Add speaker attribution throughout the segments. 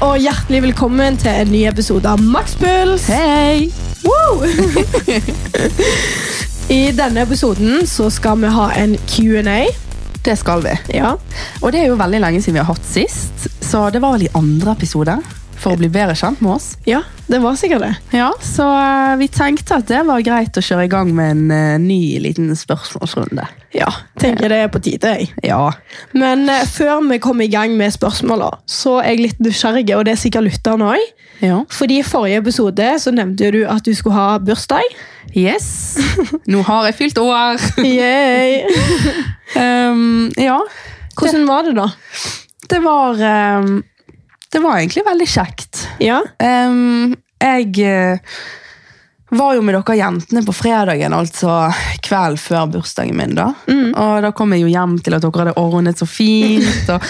Speaker 1: og hjertelig velkommen til en ny episode av Makspuls.
Speaker 2: Hei!
Speaker 1: Woo! I denne episoden så skal vi ha en Q&A.
Speaker 2: Det skal vi.
Speaker 1: Ja.
Speaker 2: Og det er jo veldig lenge siden vi har hatt sist, så det var vel i andre episode for å bli bedre kjent med oss.
Speaker 1: ja, det var sikkert det.
Speaker 2: Ja, Så eh, vi tenkte at det var greit å kjøre i gang med en eh, ny liten spørsmålsrunde.
Speaker 1: Ja, tenker det er på tide. jeg.
Speaker 2: Ja.
Speaker 1: Men eh, før vi kommer i gang med spørsmåla, så er jeg litt nysgjerrig, og det er sikkert lytteren òg.
Speaker 2: ja.
Speaker 1: Fordi i forrige episode så nevnte jo du at du skulle ha bursdag.
Speaker 2: Yes! Nå har jeg fylt år!
Speaker 1: Yay.
Speaker 2: Um, ja.
Speaker 1: Hvordan var det, da?
Speaker 2: Det var um, Det var egentlig veldig kjekt.
Speaker 1: Ja,
Speaker 2: Um, jeg eh, var jo med dere jentene på fredagen, altså kveld før bursdagen min. da. Og da kom jeg jo hjem til at dere hadde ordnet så fint. og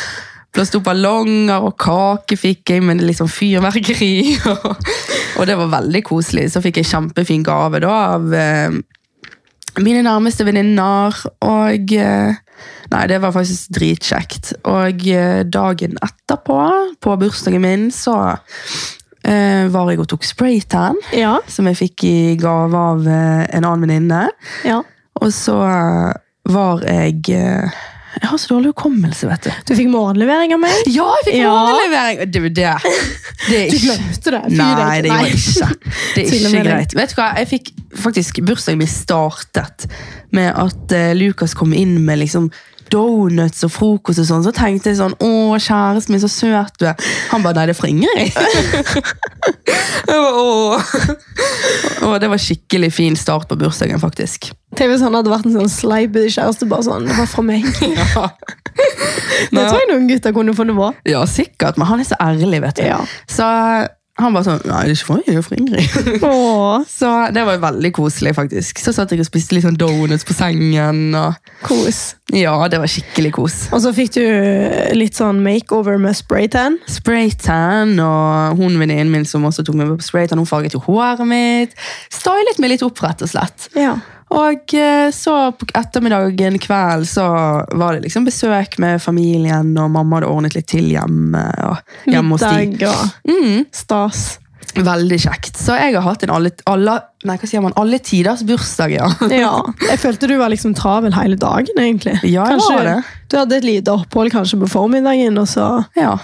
Speaker 2: Blåste opp ballonger, og kake fikk jeg med litt sånn fyrverkeri. Og, og det var veldig koselig. Så fikk jeg kjempefin gave da av eh, mine nærmeste venninner. Og eh, Nei, det var faktisk dritkjekt. Og eh, dagen etterpå, på bursdagen min, så eh, var jeg og tok spraytan.
Speaker 1: ja,
Speaker 2: Som jeg fikk i gave av eh, en annen venninne.
Speaker 1: ja.
Speaker 2: Og så eh, var jeg eh, Jeg har så dårlig hukommelse, vet du.
Speaker 1: Du fikk morgenlevering av meg?
Speaker 2: Ja, jeg fikk
Speaker 1: Ja.
Speaker 2: overlevering! Du, det, det er
Speaker 1: Du
Speaker 2: ikke
Speaker 1: glemte det. Fy,
Speaker 2: Nei, det
Speaker 1: er
Speaker 2: gjorde jeg
Speaker 1: ikke-
Speaker 2: ikke. Det er
Speaker 1: Til og
Speaker 2: ikke
Speaker 1: med det.
Speaker 2: greit. Vet du hva, jeg fikk faktisk bursdagen min startet med at eh, Lukas kom inn med liksom donuts og frokost og sånn. Så tenkte jeg sånn, å kjæresten min, så søt du er. Han bare, nei, det fringer jeg. jeg bare, åh. Og det var skikkelig fin start på bursdagen, faktisk.
Speaker 1: Tenk hvis han hadde vært en sånn sleip kjæreste. bare sånn, Det var fra meg.
Speaker 2: Ja.
Speaker 1: Det tror jeg noen gutter kunne funnet på.
Speaker 2: Ja, sikkert, men han er så ærlig, vet du.
Speaker 1: Ja.
Speaker 2: Så han bare sånn, nei, det er ikke for meg, det er for Ingrid.
Speaker 1: Åh,
Speaker 2: Så det var veldig koselig, faktisk. Så satt jeg og spiste litt sånn donuts på sengen. Og
Speaker 1: kos.
Speaker 2: ja, det var skikkelig kos.
Speaker 1: Og så fikk du litt sånn makeover med spraytan.
Speaker 2: Spraytan, og hun venninnen min som også tok meg med på spraytan, hun farget jo håret mitt. Stylet meg litt opp, rett og slett.
Speaker 1: Ja.
Speaker 2: Og eh, så på ettermiddagen kveld så var det liksom besøk med familien, og mamma hadde ordnet litt til hjemme. Og hjemme hos de.
Speaker 1: Middag og
Speaker 2: Mm,
Speaker 1: stas.
Speaker 2: veldig kjekt. Så jeg har hatt en alle, alle, nei, hva sier man, alle tiders bursdag, ja.
Speaker 1: Ja. Jeg følte du var liksom travel hele dagen, egentlig.
Speaker 2: Ja, jeg var det.
Speaker 1: Du hadde et lite opphold kanskje på formiddagen, og så
Speaker 2: Ja.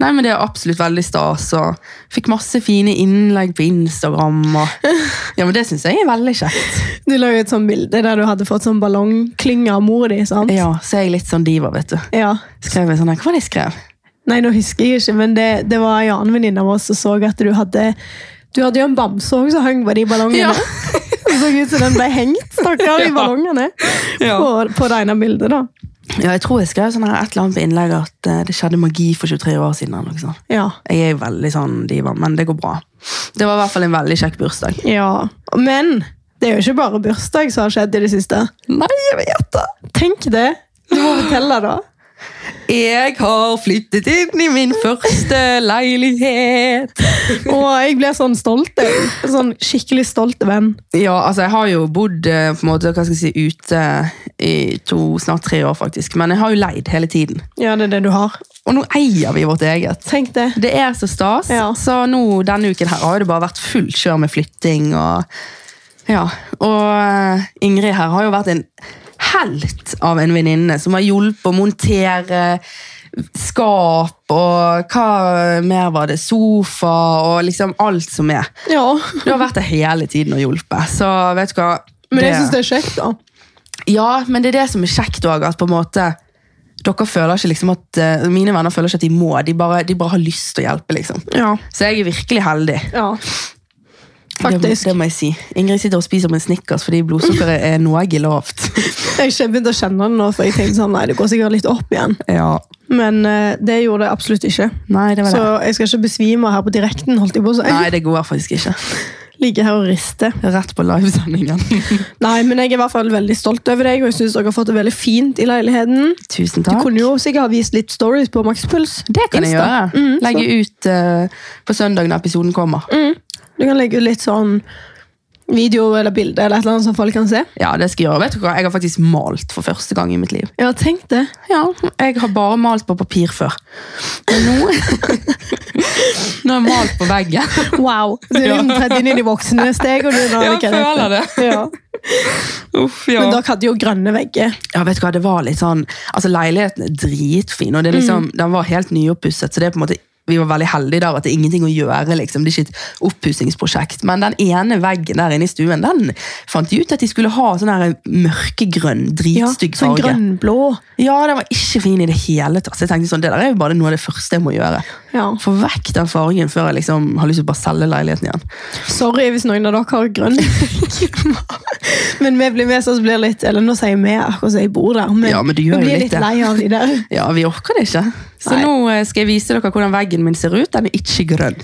Speaker 2: Nei, men Det er absolutt veldig stas. og Fikk masse fine innlegg på Instagram. Og... Ja, men Det syns jeg er veldig kjekt.
Speaker 1: Du la jo et sånt bilde der du hadde fått sånn ballongklynge av mor di, sant?
Speaker 2: Ja, Så er jeg litt sånn diva, vet du.
Speaker 1: Ja.
Speaker 2: Skrev en sånn her, Hva var det jeg skrev?
Speaker 1: Nei, nå husker jeg ikke, men det, det var en annen venninne av oss som så at du hadde Du hadde jo en bamse også som hang på de ballongene.
Speaker 2: Ja.
Speaker 1: Det så ut som den ble hengt, stakkar, i
Speaker 2: Ja.
Speaker 1: ballongene.
Speaker 2: Ja.
Speaker 1: På, på det ene bildet, da.
Speaker 2: Ja, Jeg tror jeg skrev sånn her, et eller annet på innlegget at eh, det skjedde magi for 23 år siden. eller noe sånt.
Speaker 1: Ja.
Speaker 2: Jeg er jo veldig sånn diva, men det går bra. Det var i hvert fall en veldig kjekk bursdag.
Speaker 1: ja. Men det er jo ikke bare bursdag som har skjedd i det siste.
Speaker 2: Nei, jeg vet det!
Speaker 1: Tenk det! Du må fortelle, da.
Speaker 2: Jeg har flyttet inn i min første leilighet.
Speaker 1: Og jeg blir sånn stolt. Jeg. Sånn skikkelig stolt venn.
Speaker 2: Ja, altså jeg har jo bodd eh, på en måte, hva skal jeg si, ute i to, snart tre år faktisk, men jeg har jo leid hele tiden.
Speaker 1: Ja, det er det du har.
Speaker 2: Og nå eier vi vårt eget.
Speaker 1: Tenk det.
Speaker 2: Det er så stas,
Speaker 1: Ja.
Speaker 2: så nå denne uken her har jo det bare vært fullt kjør med flytting og Ja, og eh, Ingrid her har jo vært en helt av en venninne som har hjulpet å montere skap og hva mer var det, sofa og liksom alt som er.
Speaker 1: Ja.
Speaker 2: Du har vært der hele tiden og hjulpet, så vet du hva
Speaker 1: Men jeg syns det er kjekt, da.
Speaker 2: Ja, men det er det som er kjekt òg, at på en måte dere føler ikke liksom at, eh, Mine venner føler ikke at de må, de bare, de bare har lyst til å hjelpe. liksom.
Speaker 1: Ja.
Speaker 2: Så jeg er virkelig heldig.
Speaker 1: ja.
Speaker 2: Det,
Speaker 1: Faktisk.
Speaker 2: det må jeg si. Ingrid sitter og spiser med en snickers fordi blodsukkeret er noe lavt.
Speaker 1: Jeg kjen- begynte å kjenne den nå, for jeg tenkte sånn, nei, det går sikkert litt opp igjen.
Speaker 2: ja.
Speaker 1: Men eh, det gjorde det absolutt ikke.
Speaker 2: Nei, det var
Speaker 1: Så
Speaker 2: det.
Speaker 1: jeg skal ikke besvime her på direkten, holdt jeg på å si.
Speaker 2: Nei, det går faktisk ikke.
Speaker 1: Ligge her og riste.
Speaker 2: Rett på livesendingen.
Speaker 1: Nei, men jeg er i hvert fall veldig stolt over deg, og jeg synes dere har fått det veldig fint i leiligheten.
Speaker 2: Tusen
Speaker 1: Du
Speaker 2: takk.
Speaker 1: kunne jo sikkert ha vist litt stories på Maxpuls.
Speaker 2: det kan jeg
Speaker 1: Insta.
Speaker 2: gjøre.
Speaker 1: Mm,
Speaker 2: Legge ut eh, på søndag når episoden kommer.
Speaker 1: Du kan legge ut litt sånn video eller bilde eller et eller annet som folk kan se.
Speaker 2: Ja, det skal jeg gjøre. Vet du hva? Jeg har faktisk malt for første gang i mitt liv.
Speaker 1: Ja, tenk det.
Speaker 2: Ja, jeg har bare malt på papir før. Men nå Nå har jeg malt på veggen.
Speaker 1: Wow. Du er
Speaker 2: Ja.
Speaker 1: liksom tredd inn i de voksne steg. Og du, nå,
Speaker 2: Ja, jeg føler det.
Speaker 1: Ja.
Speaker 2: Uff, ja.
Speaker 1: Men dere hadde jo grønne vegger.
Speaker 2: ja, vet du hva, det var litt sånn Altså, leiligheten er dritfin, og det er liksom, den var helt nyoppusset, så det er på en måte vi var veldig heldige der at det er ingenting å gjøre. liksom. Det er ikke et oppussingsprosjekt. Men den ene veggen der inne i stuen den fant de ut at de skulle ha sånn her mørkegrønn, dritstygg
Speaker 1: sånn
Speaker 2: farge.
Speaker 1: grønnblå.
Speaker 2: Ja, den var ikke fin i det hele tatt. Så jeg tenkte sånn, Det der er jo bare noe av det første jeg må gjøre.
Speaker 1: Ja.
Speaker 2: Få vekk den fargen før jeg liksom har lyst til å bare selge leiligheten igjen.
Speaker 1: Sorry hvis noen av dere har grønn vegg. Men vi blir med så blir litt Eller nå sier vi akkurat som jeg bor der, men,
Speaker 2: Ja, men du
Speaker 1: vi
Speaker 2: gjør jo
Speaker 1: blir litt
Speaker 2: litt det.
Speaker 1: lei av de der.
Speaker 2: Ja, vi orker det ikke. Så
Speaker 1: Nei.
Speaker 2: nå eh, skal jeg vise dere hvordan veggen min ser ut. Den er ikke grønn.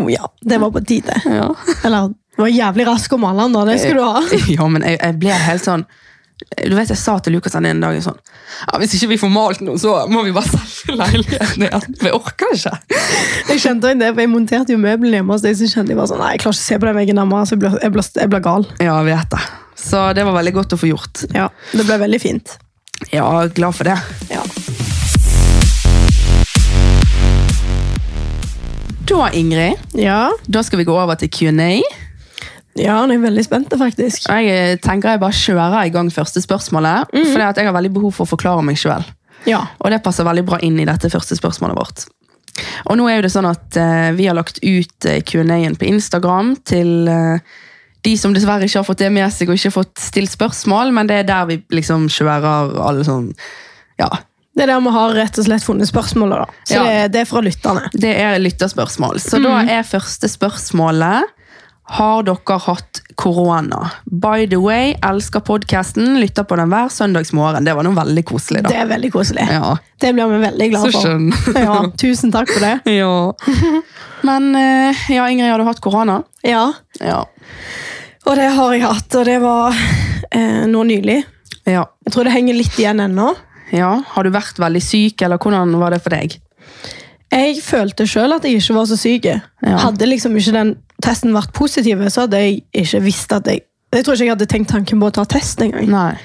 Speaker 1: Oh, ja, det var på tide.
Speaker 2: Ja,
Speaker 1: Eller det var jævlig rask å male den, da. Det skal du ha.
Speaker 2: ja men jeg, jeg ble helt sånn du vet, Jeg sa til Lukas den ene dagen sånn ja, Hvis ikke vi får malt noe, så må vi bare selge leiligheten igjen. Vi orker ikke.
Speaker 1: Jeg kjente jo det, for jeg monterte jo møblene hjemme hos deg, så kjente jeg bare sånn Nei, jeg klarer ikke å se på den veggen der, altså, jeg blir- jeg blir- jeg blir gal.
Speaker 2: Ja, jeg vet det. Så det var veldig godt å få gjort.
Speaker 1: Ja, Det ble veldig fint.
Speaker 2: Ja, glad for det.
Speaker 1: Ja.
Speaker 2: Da, Ingrid,
Speaker 1: Ja,
Speaker 2: da skal vi gå over til Q&A.
Speaker 1: ja nå er jeg veldig spent, faktisk.
Speaker 2: Jeg eh, tenker jeg bare kjører i gang første spørsmålet, for jeg har veldig behov for å forklare meg selv.
Speaker 1: Ja.
Speaker 2: Og det passer veldig bra inn i dette første spørsmålet vårt. Og nå er jo det sånn at eh, vi har lagt ut eh, Q&A-en på Instagram til eh, de som dessverre ikke har fått det med seg og ikke har fått stilt spørsmål, men det er der vi liksom kjører alle sånn Ja.
Speaker 1: Det er der vi har rett og slett funnet spørsmålet, da. Så
Speaker 2: Ja.
Speaker 1: det, det er fra lytterne.
Speaker 2: Det er lytterspørsmål. Så da
Speaker 1: Mm.
Speaker 2: er første spørsmålet Har dere hatt korona? By the way, elsker podkasten. Lytter på den hver søndagsmorgen. Det var noe veldig koselig, da.
Speaker 1: Det er veldig koselig.
Speaker 2: Ja.
Speaker 1: Det blir vi veldig glad
Speaker 2: Så
Speaker 1: for.
Speaker 2: skjønn.
Speaker 1: ja, tusen takk for det.
Speaker 2: Ja. Men eh, ja, Ingrid, har du hatt korona?
Speaker 1: Ja,
Speaker 2: Ja.
Speaker 1: Og det har jeg hatt, og det var eh, nå nylig.
Speaker 2: ja.
Speaker 1: Jeg tror det henger litt igjen ennå.
Speaker 2: Ja, Har du vært veldig syk, eller hvordan var det for deg?
Speaker 1: Jeg følte sjøl at jeg ikke var så syk.
Speaker 2: Ja.
Speaker 1: Hadde liksom ikke den testen vært positiv, så hadde jeg ikke visst at jeg Jeg tror ikke jeg hadde tenkt tanken på å ta test engang.
Speaker 2: Nei.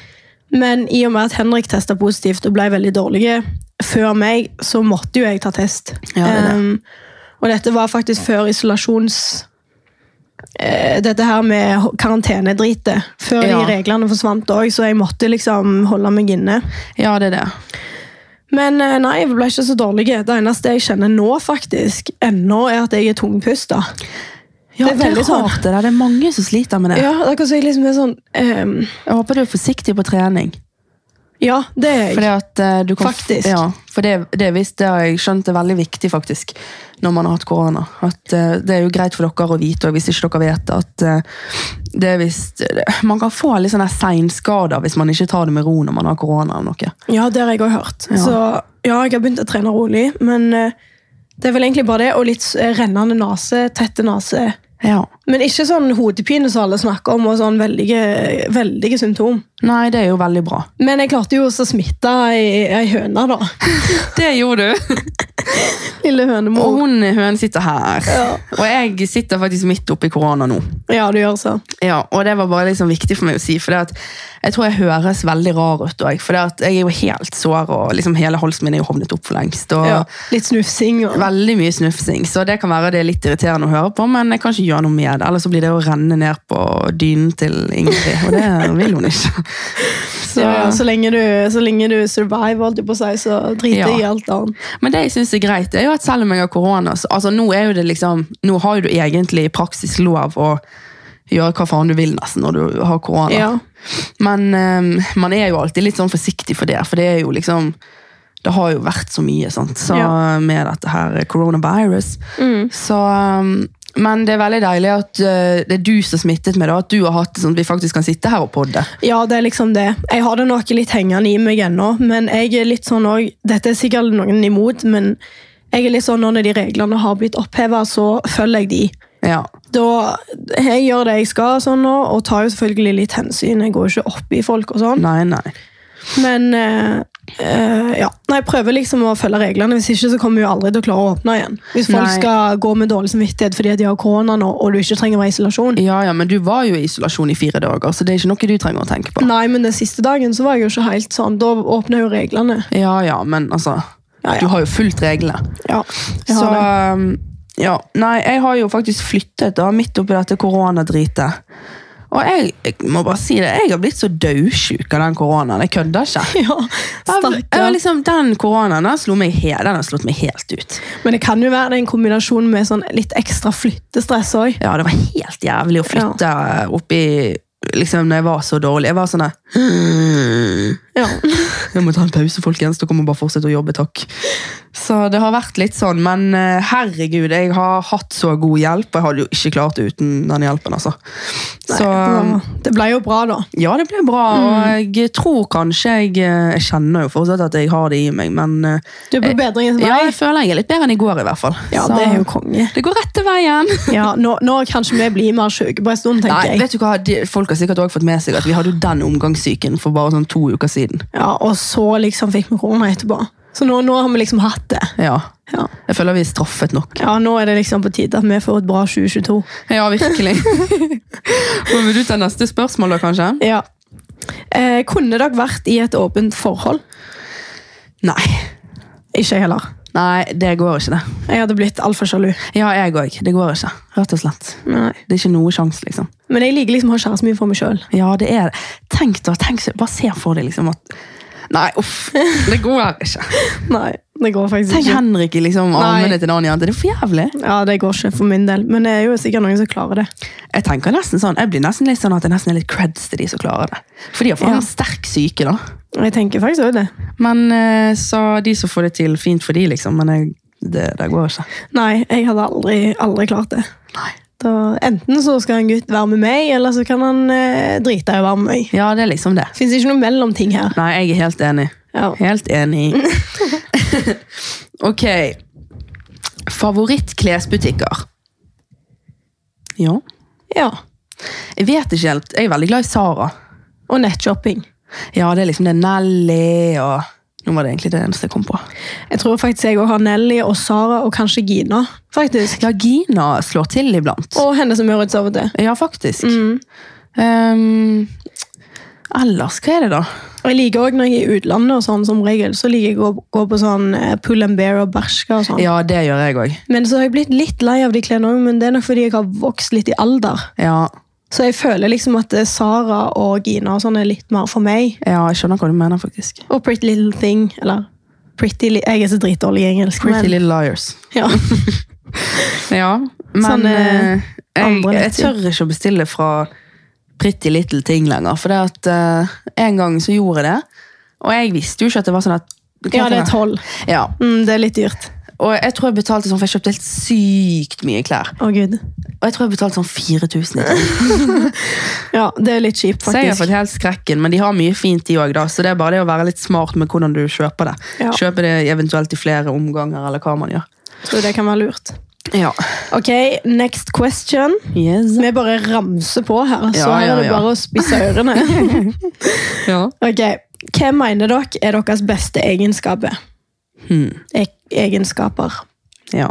Speaker 1: Men i og med at Henrik testa positivt og ble veldig dårlig før meg, så måtte jo jeg ta test.
Speaker 2: Ja, det er det.
Speaker 1: Ehm, og dette var faktisk før isolasjons... eh, dette her med ho- karantenedritet. Før
Speaker 2: Ja.
Speaker 1: de reglene forsvant òg, så jeg måtte liksom holde meg inne.
Speaker 2: Ja, det er det.
Speaker 1: Men eh, nei, jeg ble ikke så dårlig. Det eneste jeg kjenner nå, faktisk, ennå, er at jeg er tungpusta.
Speaker 2: Ja,
Speaker 1: Det er veldig sånn.
Speaker 2: rart, det der. Det er mange som sliter med det.
Speaker 1: Ja, det er akkurat som jeg liksom er sånn ehm,
Speaker 2: Jeg håper du er forsiktig på trening.
Speaker 1: Ja, det er jeg.
Speaker 2: Fordi at eh, du kan,
Speaker 1: Faktisk.
Speaker 2: Ja, for det, det, er visst, det har jeg skjønt er veldig viktig faktisk, når man har hatt korona. At eh, Det er jo greit for dere å vite, og hvis ikke dere vet det, at eh, det er visst, man kan få litt sånne seinskader hvis man ikke tar det med ro når man har korona. eller noe.
Speaker 1: Ja, det har jeg òg hørt.
Speaker 2: Ja.
Speaker 1: Så ja, jeg har begynt å trene rolig, men eh, det er vel egentlig bare det, og litt eh, rennende nese, tette nese.
Speaker 2: Ja.
Speaker 1: Men ikke sånn hodepine som alle snakker om, og sånn veldige, veldige symptom.
Speaker 2: Nei, det er jo veldig bra.
Speaker 1: Men jeg klarte jo også å smitte ei, ei høne, da.
Speaker 2: Det gjorde du!
Speaker 1: Lille hønemor.
Speaker 2: Og hun, hun sitter her.
Speaker 1: Ja.
Speaker 2: Og jeg sitter faktisk midt oppi korona nå.
Speaker 1: Ja, du gjør så.
Speaker 2: Ja, og det var bare liksom viktig for meg å si, for det at jeg tror jeg høres veldig rar ut også, for det at jeg er jo helt sår, og liksom hele halsen min er jo hovnet opp for lengst, og
Speaker 1: Ja. Litt snufsing og
Speaker 2: veldig mye snufsing, så det kan være det er litt irriterende å høre på, men jeg kan ikke gjøre noe med det, ellers så blir det å renne ned på dynen til Ingrid, og det vil hun ikke. Så,
Speaker 1: ja, ja, så, lenge du, så lenge du survive, holdt jeg på å si, så driter jeg i
Speaker 2: Ja.
Speaker 1: alt annet.
Speaker 2: Men det jeg synes er greit, er jo at selv om jeg har korona, så altså, nå, er jo det liksom, nå har jo du egentlig i praksis lov å gjøre hva faen du vil nesten når du har korona.
Speaker 1: Ja.
Speaker 2: Men eh, man er jo alltid litt sånn forsiktig for det, for det er jo liksom Det har jo vært så mye sant? Så,
Speaker 1: Ja. Mm.
Speaker 2: med dette her coronavirus. Så eh, men det er veldig deilig at eh, det er du som er smittet med det, og at du har hatt det sånn at vi faktisk kan sitte her og podde.
Speaker 1: ja, det er liksom det. Jeg har det nok litt hengende i meg ennå, men jeg er litt sånn òg Dette er sikkert noen imot, men jeg er litt sånn nå når de reglene har blitt oppheva, så følger jeg de.
Speaker 2: Ja.
Speaker 1: Da, jeg gjør det jeg skal, sånn nå, og tar jo selvfølgelig litt hensyn. Jeg går jo ikke opp i folk og sånn.
Speaker 2: Nei, nei.
Speaker 1: Men eh, eh, ja. Nei, jeg prøver liksom å følge reglene, hvis ikke så kommer vi jo aldri til å klare å åpne igjen. Hvis folk
Speaker 2: Nei.
Speaker 1: skal gå med dårlig samvittighet fordi de har korona nå, og du ikke trenger å være i isolasjon.
Speaker 2: Ja, ja, men du var jo i isolasjon i fire dager, så det er ikke noe du trenger å tenke på.
Speaker 1: Nei, men den siste dagen så var jeg jo ikke helt sånn. Da åpna jo reglene.
Speaker 2: Ja, ja, men altså,
Speaker 1: Ja, ja.
Speaker 2: du har jo fulgt reglene.
Speaker 1: Ja, jeg
Speaker 2: Så,
Speaker 1: har det.
Speaker 2: um, ja. Nei, jeg har jo faktisk flyttet da, midt oppi dette koronadritet. Og jeg, jeg må bare si det, jeg har blitt så dødsjuk av den koronaen. Jeg kødder ikke.
Speaker 1: Ja,
Speaker 2: Jeg, jeg, var
Speaker 1: stakkar.
Speaker 2: liksom, den koronaen den slo meg he- den har slått meg helt ut.
Speaker 1: Men det kan jo være det er en kombinasjon med sånn litt ekstra flyttestress òg.
Speaker 2: Ja, det var helt jævlig å flytte oppi liksom, når jeg var så dårlig. Jeg var sånn der,
Speaker 1: Ja.
Speaker 2: Jeg må ta en pause, folkens. Dere må bare fortsette å jobbe, takk. Så det har vært litt sånn, men eh, herregud, jeg har hatt så god hjelp, og jeg hadde jo ikke klart det uten den hjelpen, altså. Så
Speaker 1: Nei, det ble jo bra, da.
Speaker 2: ja, det ble bra, og jeg tror kanskje jeg eh, Jeg kjenner jo fortsatt at jeg har det i meg, men eh,
Speaker 1: Du er på bedringens
Speaker 2: ja,
Speaker 1: vei.
Speaker 2: jeg føler jeg er litt bedre enn i går, i hvert fall.
Speaker 1: Ja,
Speaker 2: Så
Speaker 1: det er jo konge.
Speaker 2: det går rett til veien.
Speaker 1: Ja, nå, nå kan ikke vi bli mer sjuke på en stund,
Speaker 2: Nei,
Speaker 1: tenker jeg.
Speaker 2: vet du hva? De, folk har sikkert også fått med seg at vi hadde jo den omgangssyken for bare sånn to uker siden.
Speaker 1: Ja, Og så liksom fikk vi korona etterpå. Så nå, nå har vi liksom hatt det.
Speaker 2: Ja.
Speaker 1: Ja.
Speaker 2: Jeg føler vi er straffet nok.
Speaker 1: ja, Nå er det liksom på tide at vi får et bra 2022.
Speaker 2: Ja, virkelig. Men vil du ta neste spørsmål, da, kanskje?
Speaker 1: Ja. Eh, kunne dere vært i et åpent forhold?
Speaker 2: Nei.
Speaker 1: Ikke jeg heller.
Speaker 2: Nei, det går ikke, det.
Speaker 1: Jeg hadde blitt altfor sjalu.
Speaker 2: Ja, jeg òg. Det går ikke. Rett og slett.
Speaker 1: Nei.
Speaker 2: Det er ikke noe sjanse, liksom.
Speaker 1: Men jeg liker liksom å ha kjæresten min for meg sjøl.
Speaker 2: Ja, det er det. Tenk da, tenk så. Bare se for deg, liksom, at Nei, uff. Det går ikke.
Speaker 1: Nei, det går faktisk
Speaker 2: Tenk
Speaker 1: ikke.
Speaker 2: Henrik i liksom,
Speaker 1: Nei.
Speaker 2: armene til en annen jente. Det er for jævlig.
Speaker 1: Ja, det går ikke for min del, men det er jo sikkert noen som klarer det.
Speaker 2: Jeg tenker nesten sånn, jeg blir nesten litt sånn at jeg nesten er litt creds til de som klarer det. For de har faen
Speaker 1: Ja.
Speaker 2: en sterk syke, da.
Speaker 1: Og jeg tenker faktisk også det.
Speaker 2: Men eh, så de som får det til, fint for de, liksom. Men jeg, det, det går ikke.
Speaker 1: Nei, jeg hadde aldri, aldri klart det.
Speaker 2: Nei.
Speaker 1: Da, enten så skal en gutt være med meg, eller så kan han eh, drite i å være med meg.
Speaker 2: Ja, det er liksom det.
Speaker 1: Fins ikke noe mellomting her.
Speaker 2: Nei, jeg er helt enig.
Speaker 1: Ja.
Speaker 2: Helt enig. ok. Favorittklesbutikker. Ja.
Speaker 1: ja.
Speaker 2: Jeg vet ikke helt. Jeg er veldig glad i Sara.
Speaker 1: Og nettshopping.
Speaker 2: Ja, det er liksom det Nelly og Nå var det egentlig det eneste jeg kom på.
Speaker 1: Jeg tror faktisk jeg også har Nelly og Sara og kanskje Gina. faktisk.
Speaker 2: Ja, Gina slår til iblant.
Speaker 1: Og henne som Møritz av og til.
Speaker 2: Ja, faktisk. Ehm, ellers, hva er det, da?
Speaker 1: Og Jeg liker også når jeg er i utlandet, og sånn som regel, så liker jeg å gå- gå på sånn eh, pull and bear og berska og sånn.
Speaker 2: Ja, det gjør jeg òg.
Speaker 1: Men så har jeg blitt litt lei av de klærne òg, men det er nok fordi jeg har vokst litt i alder.
Speaker 2: Ja,
Speaker 1: Så jeg føler liksom at eh, Sara og Gina og sånn er litt mer for meg.
Speaker 2: ja, jeg skjønner hva du mener, faktisk.
Speaker 1: Og Pretty Little Thing, eller Pretty Li Jeg er så dritdårlig i engelsk,
Speaker 2: Pretty
Speaker 1: men
Speaker 2: Little Liars.
Speaker 1: ja.
Speaker 2: Ja, men
Speaker 1: Sånn, eh,
Speaker 2: eh, jeg,
Speaker 1: andre
Speaker 2: jeg
Speaker 1: nettsider.
Speaker 2: tør ikke å bestille fra Pretty Little Ting lenger. For det at eh, en gang så gjorde jeg det, og jeg visste jo ikke at det var sånn at
Speaker 1: ja,
Speaker 2: Hva heter
Speaker 1: det er tolv.
Speaker 2: Ja,
Speaker 1: Mm, det er litt dyrt.
Speaker 2: og jeg tror jeg betalte sånn, for jeg kjøpte helt sykt mye klær.
Speaker 1: Å, gud.
Speaker 2: Og jeg tror jeg betalte sånn 4000. i ting.
Speaker 1: Ja, det er litt kjipt,
Speaker 2: Så jeg har
Speaker 1: faktisk.
Speaker 2: fått helt skrekken, men de har mye fint de òg, da. Så det er bare det å være litt smart med hvordan du kjøper det.
Speaker 1: Ja.
Speaker 2: Kjøper det eventuelt i flere omganger, eller hva man gjør.
Speaker 1: Tror det kan være lurt.
Speaker 2: Ja.
Speaker 1: Ok, next question.
Speaker 2: Yes.
Speaker 1: Vi bare ramser på her, så
Speaker 2: Ja, ja,
Speaker 1: her er det
Speaker 2: ja.
Speaker 1: bare å spisse ørene.
Speaker 2: Ja.
Speaker 1: Ok, Hva mener dere er deres beste egenskaper?
Speaker 2: Hmm.
Speaker 1: E egenskaper.
Speaker 2: Ja.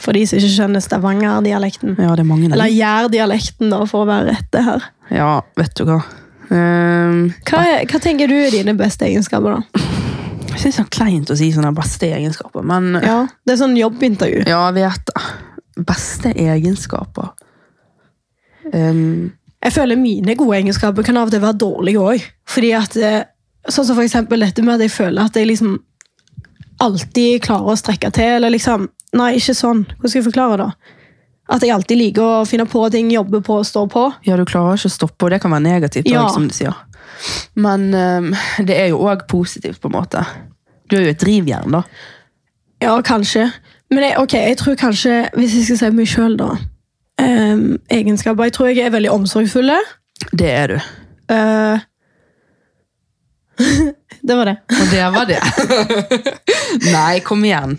Speaker 1: For de som ikke skjønner Stavanger-dialekten.
Speaker 2: ja, det er mange av
Speaker 1: Eller
Speaker 2: dem.
Speaker 1: Jær-dialekten, da, for å være rette her.
Speaker 2: Ja, vet du hva. Um,
Speaker 1: Hva, er, hva tenker du er dine beste egenskaper, da?
Speaker 2: jeg syns det er kleint å si sånne beste egenskaper, men ja,
Speaker 1: Ja, Det er sånn jobbintervju.
Speaker 2: jeg vet det. Beste egenskaper um,
Speaker 1: Jeg føler mine gode egenskaper kan av og til være dårlige òg. Fordi at eh, Sånn som for eksempel dette med at jeg føler at jeg liksom alltid klarer å strekke til, eller liksom Nei, ikke sånn. Hvordan skal jeg forklare det? At jeg alltid liker å finne på ting, jobbe på, stå på.
Speaker 2: Ja, du klarer ikke å stoppe, og det kan være negativt.
Speaker 1: Ja.
Speaker 2: også, som du sier. Men um, det er jo òg positivt, på en måte. Du er jo et drivjern, da.
Speaker 1: Ja, kanskje. Men jeg, ok, jeg tror kanskje, hvis jeg skal si meg sjøl, da ehm, Egenskaper. Jeg tror jeg er veldig omsorgsfulle.
Speaker 2: Det er du.
Speaker 1: Eh, det var det.
Speaker 2: Og det var det. Nei, kom igjen.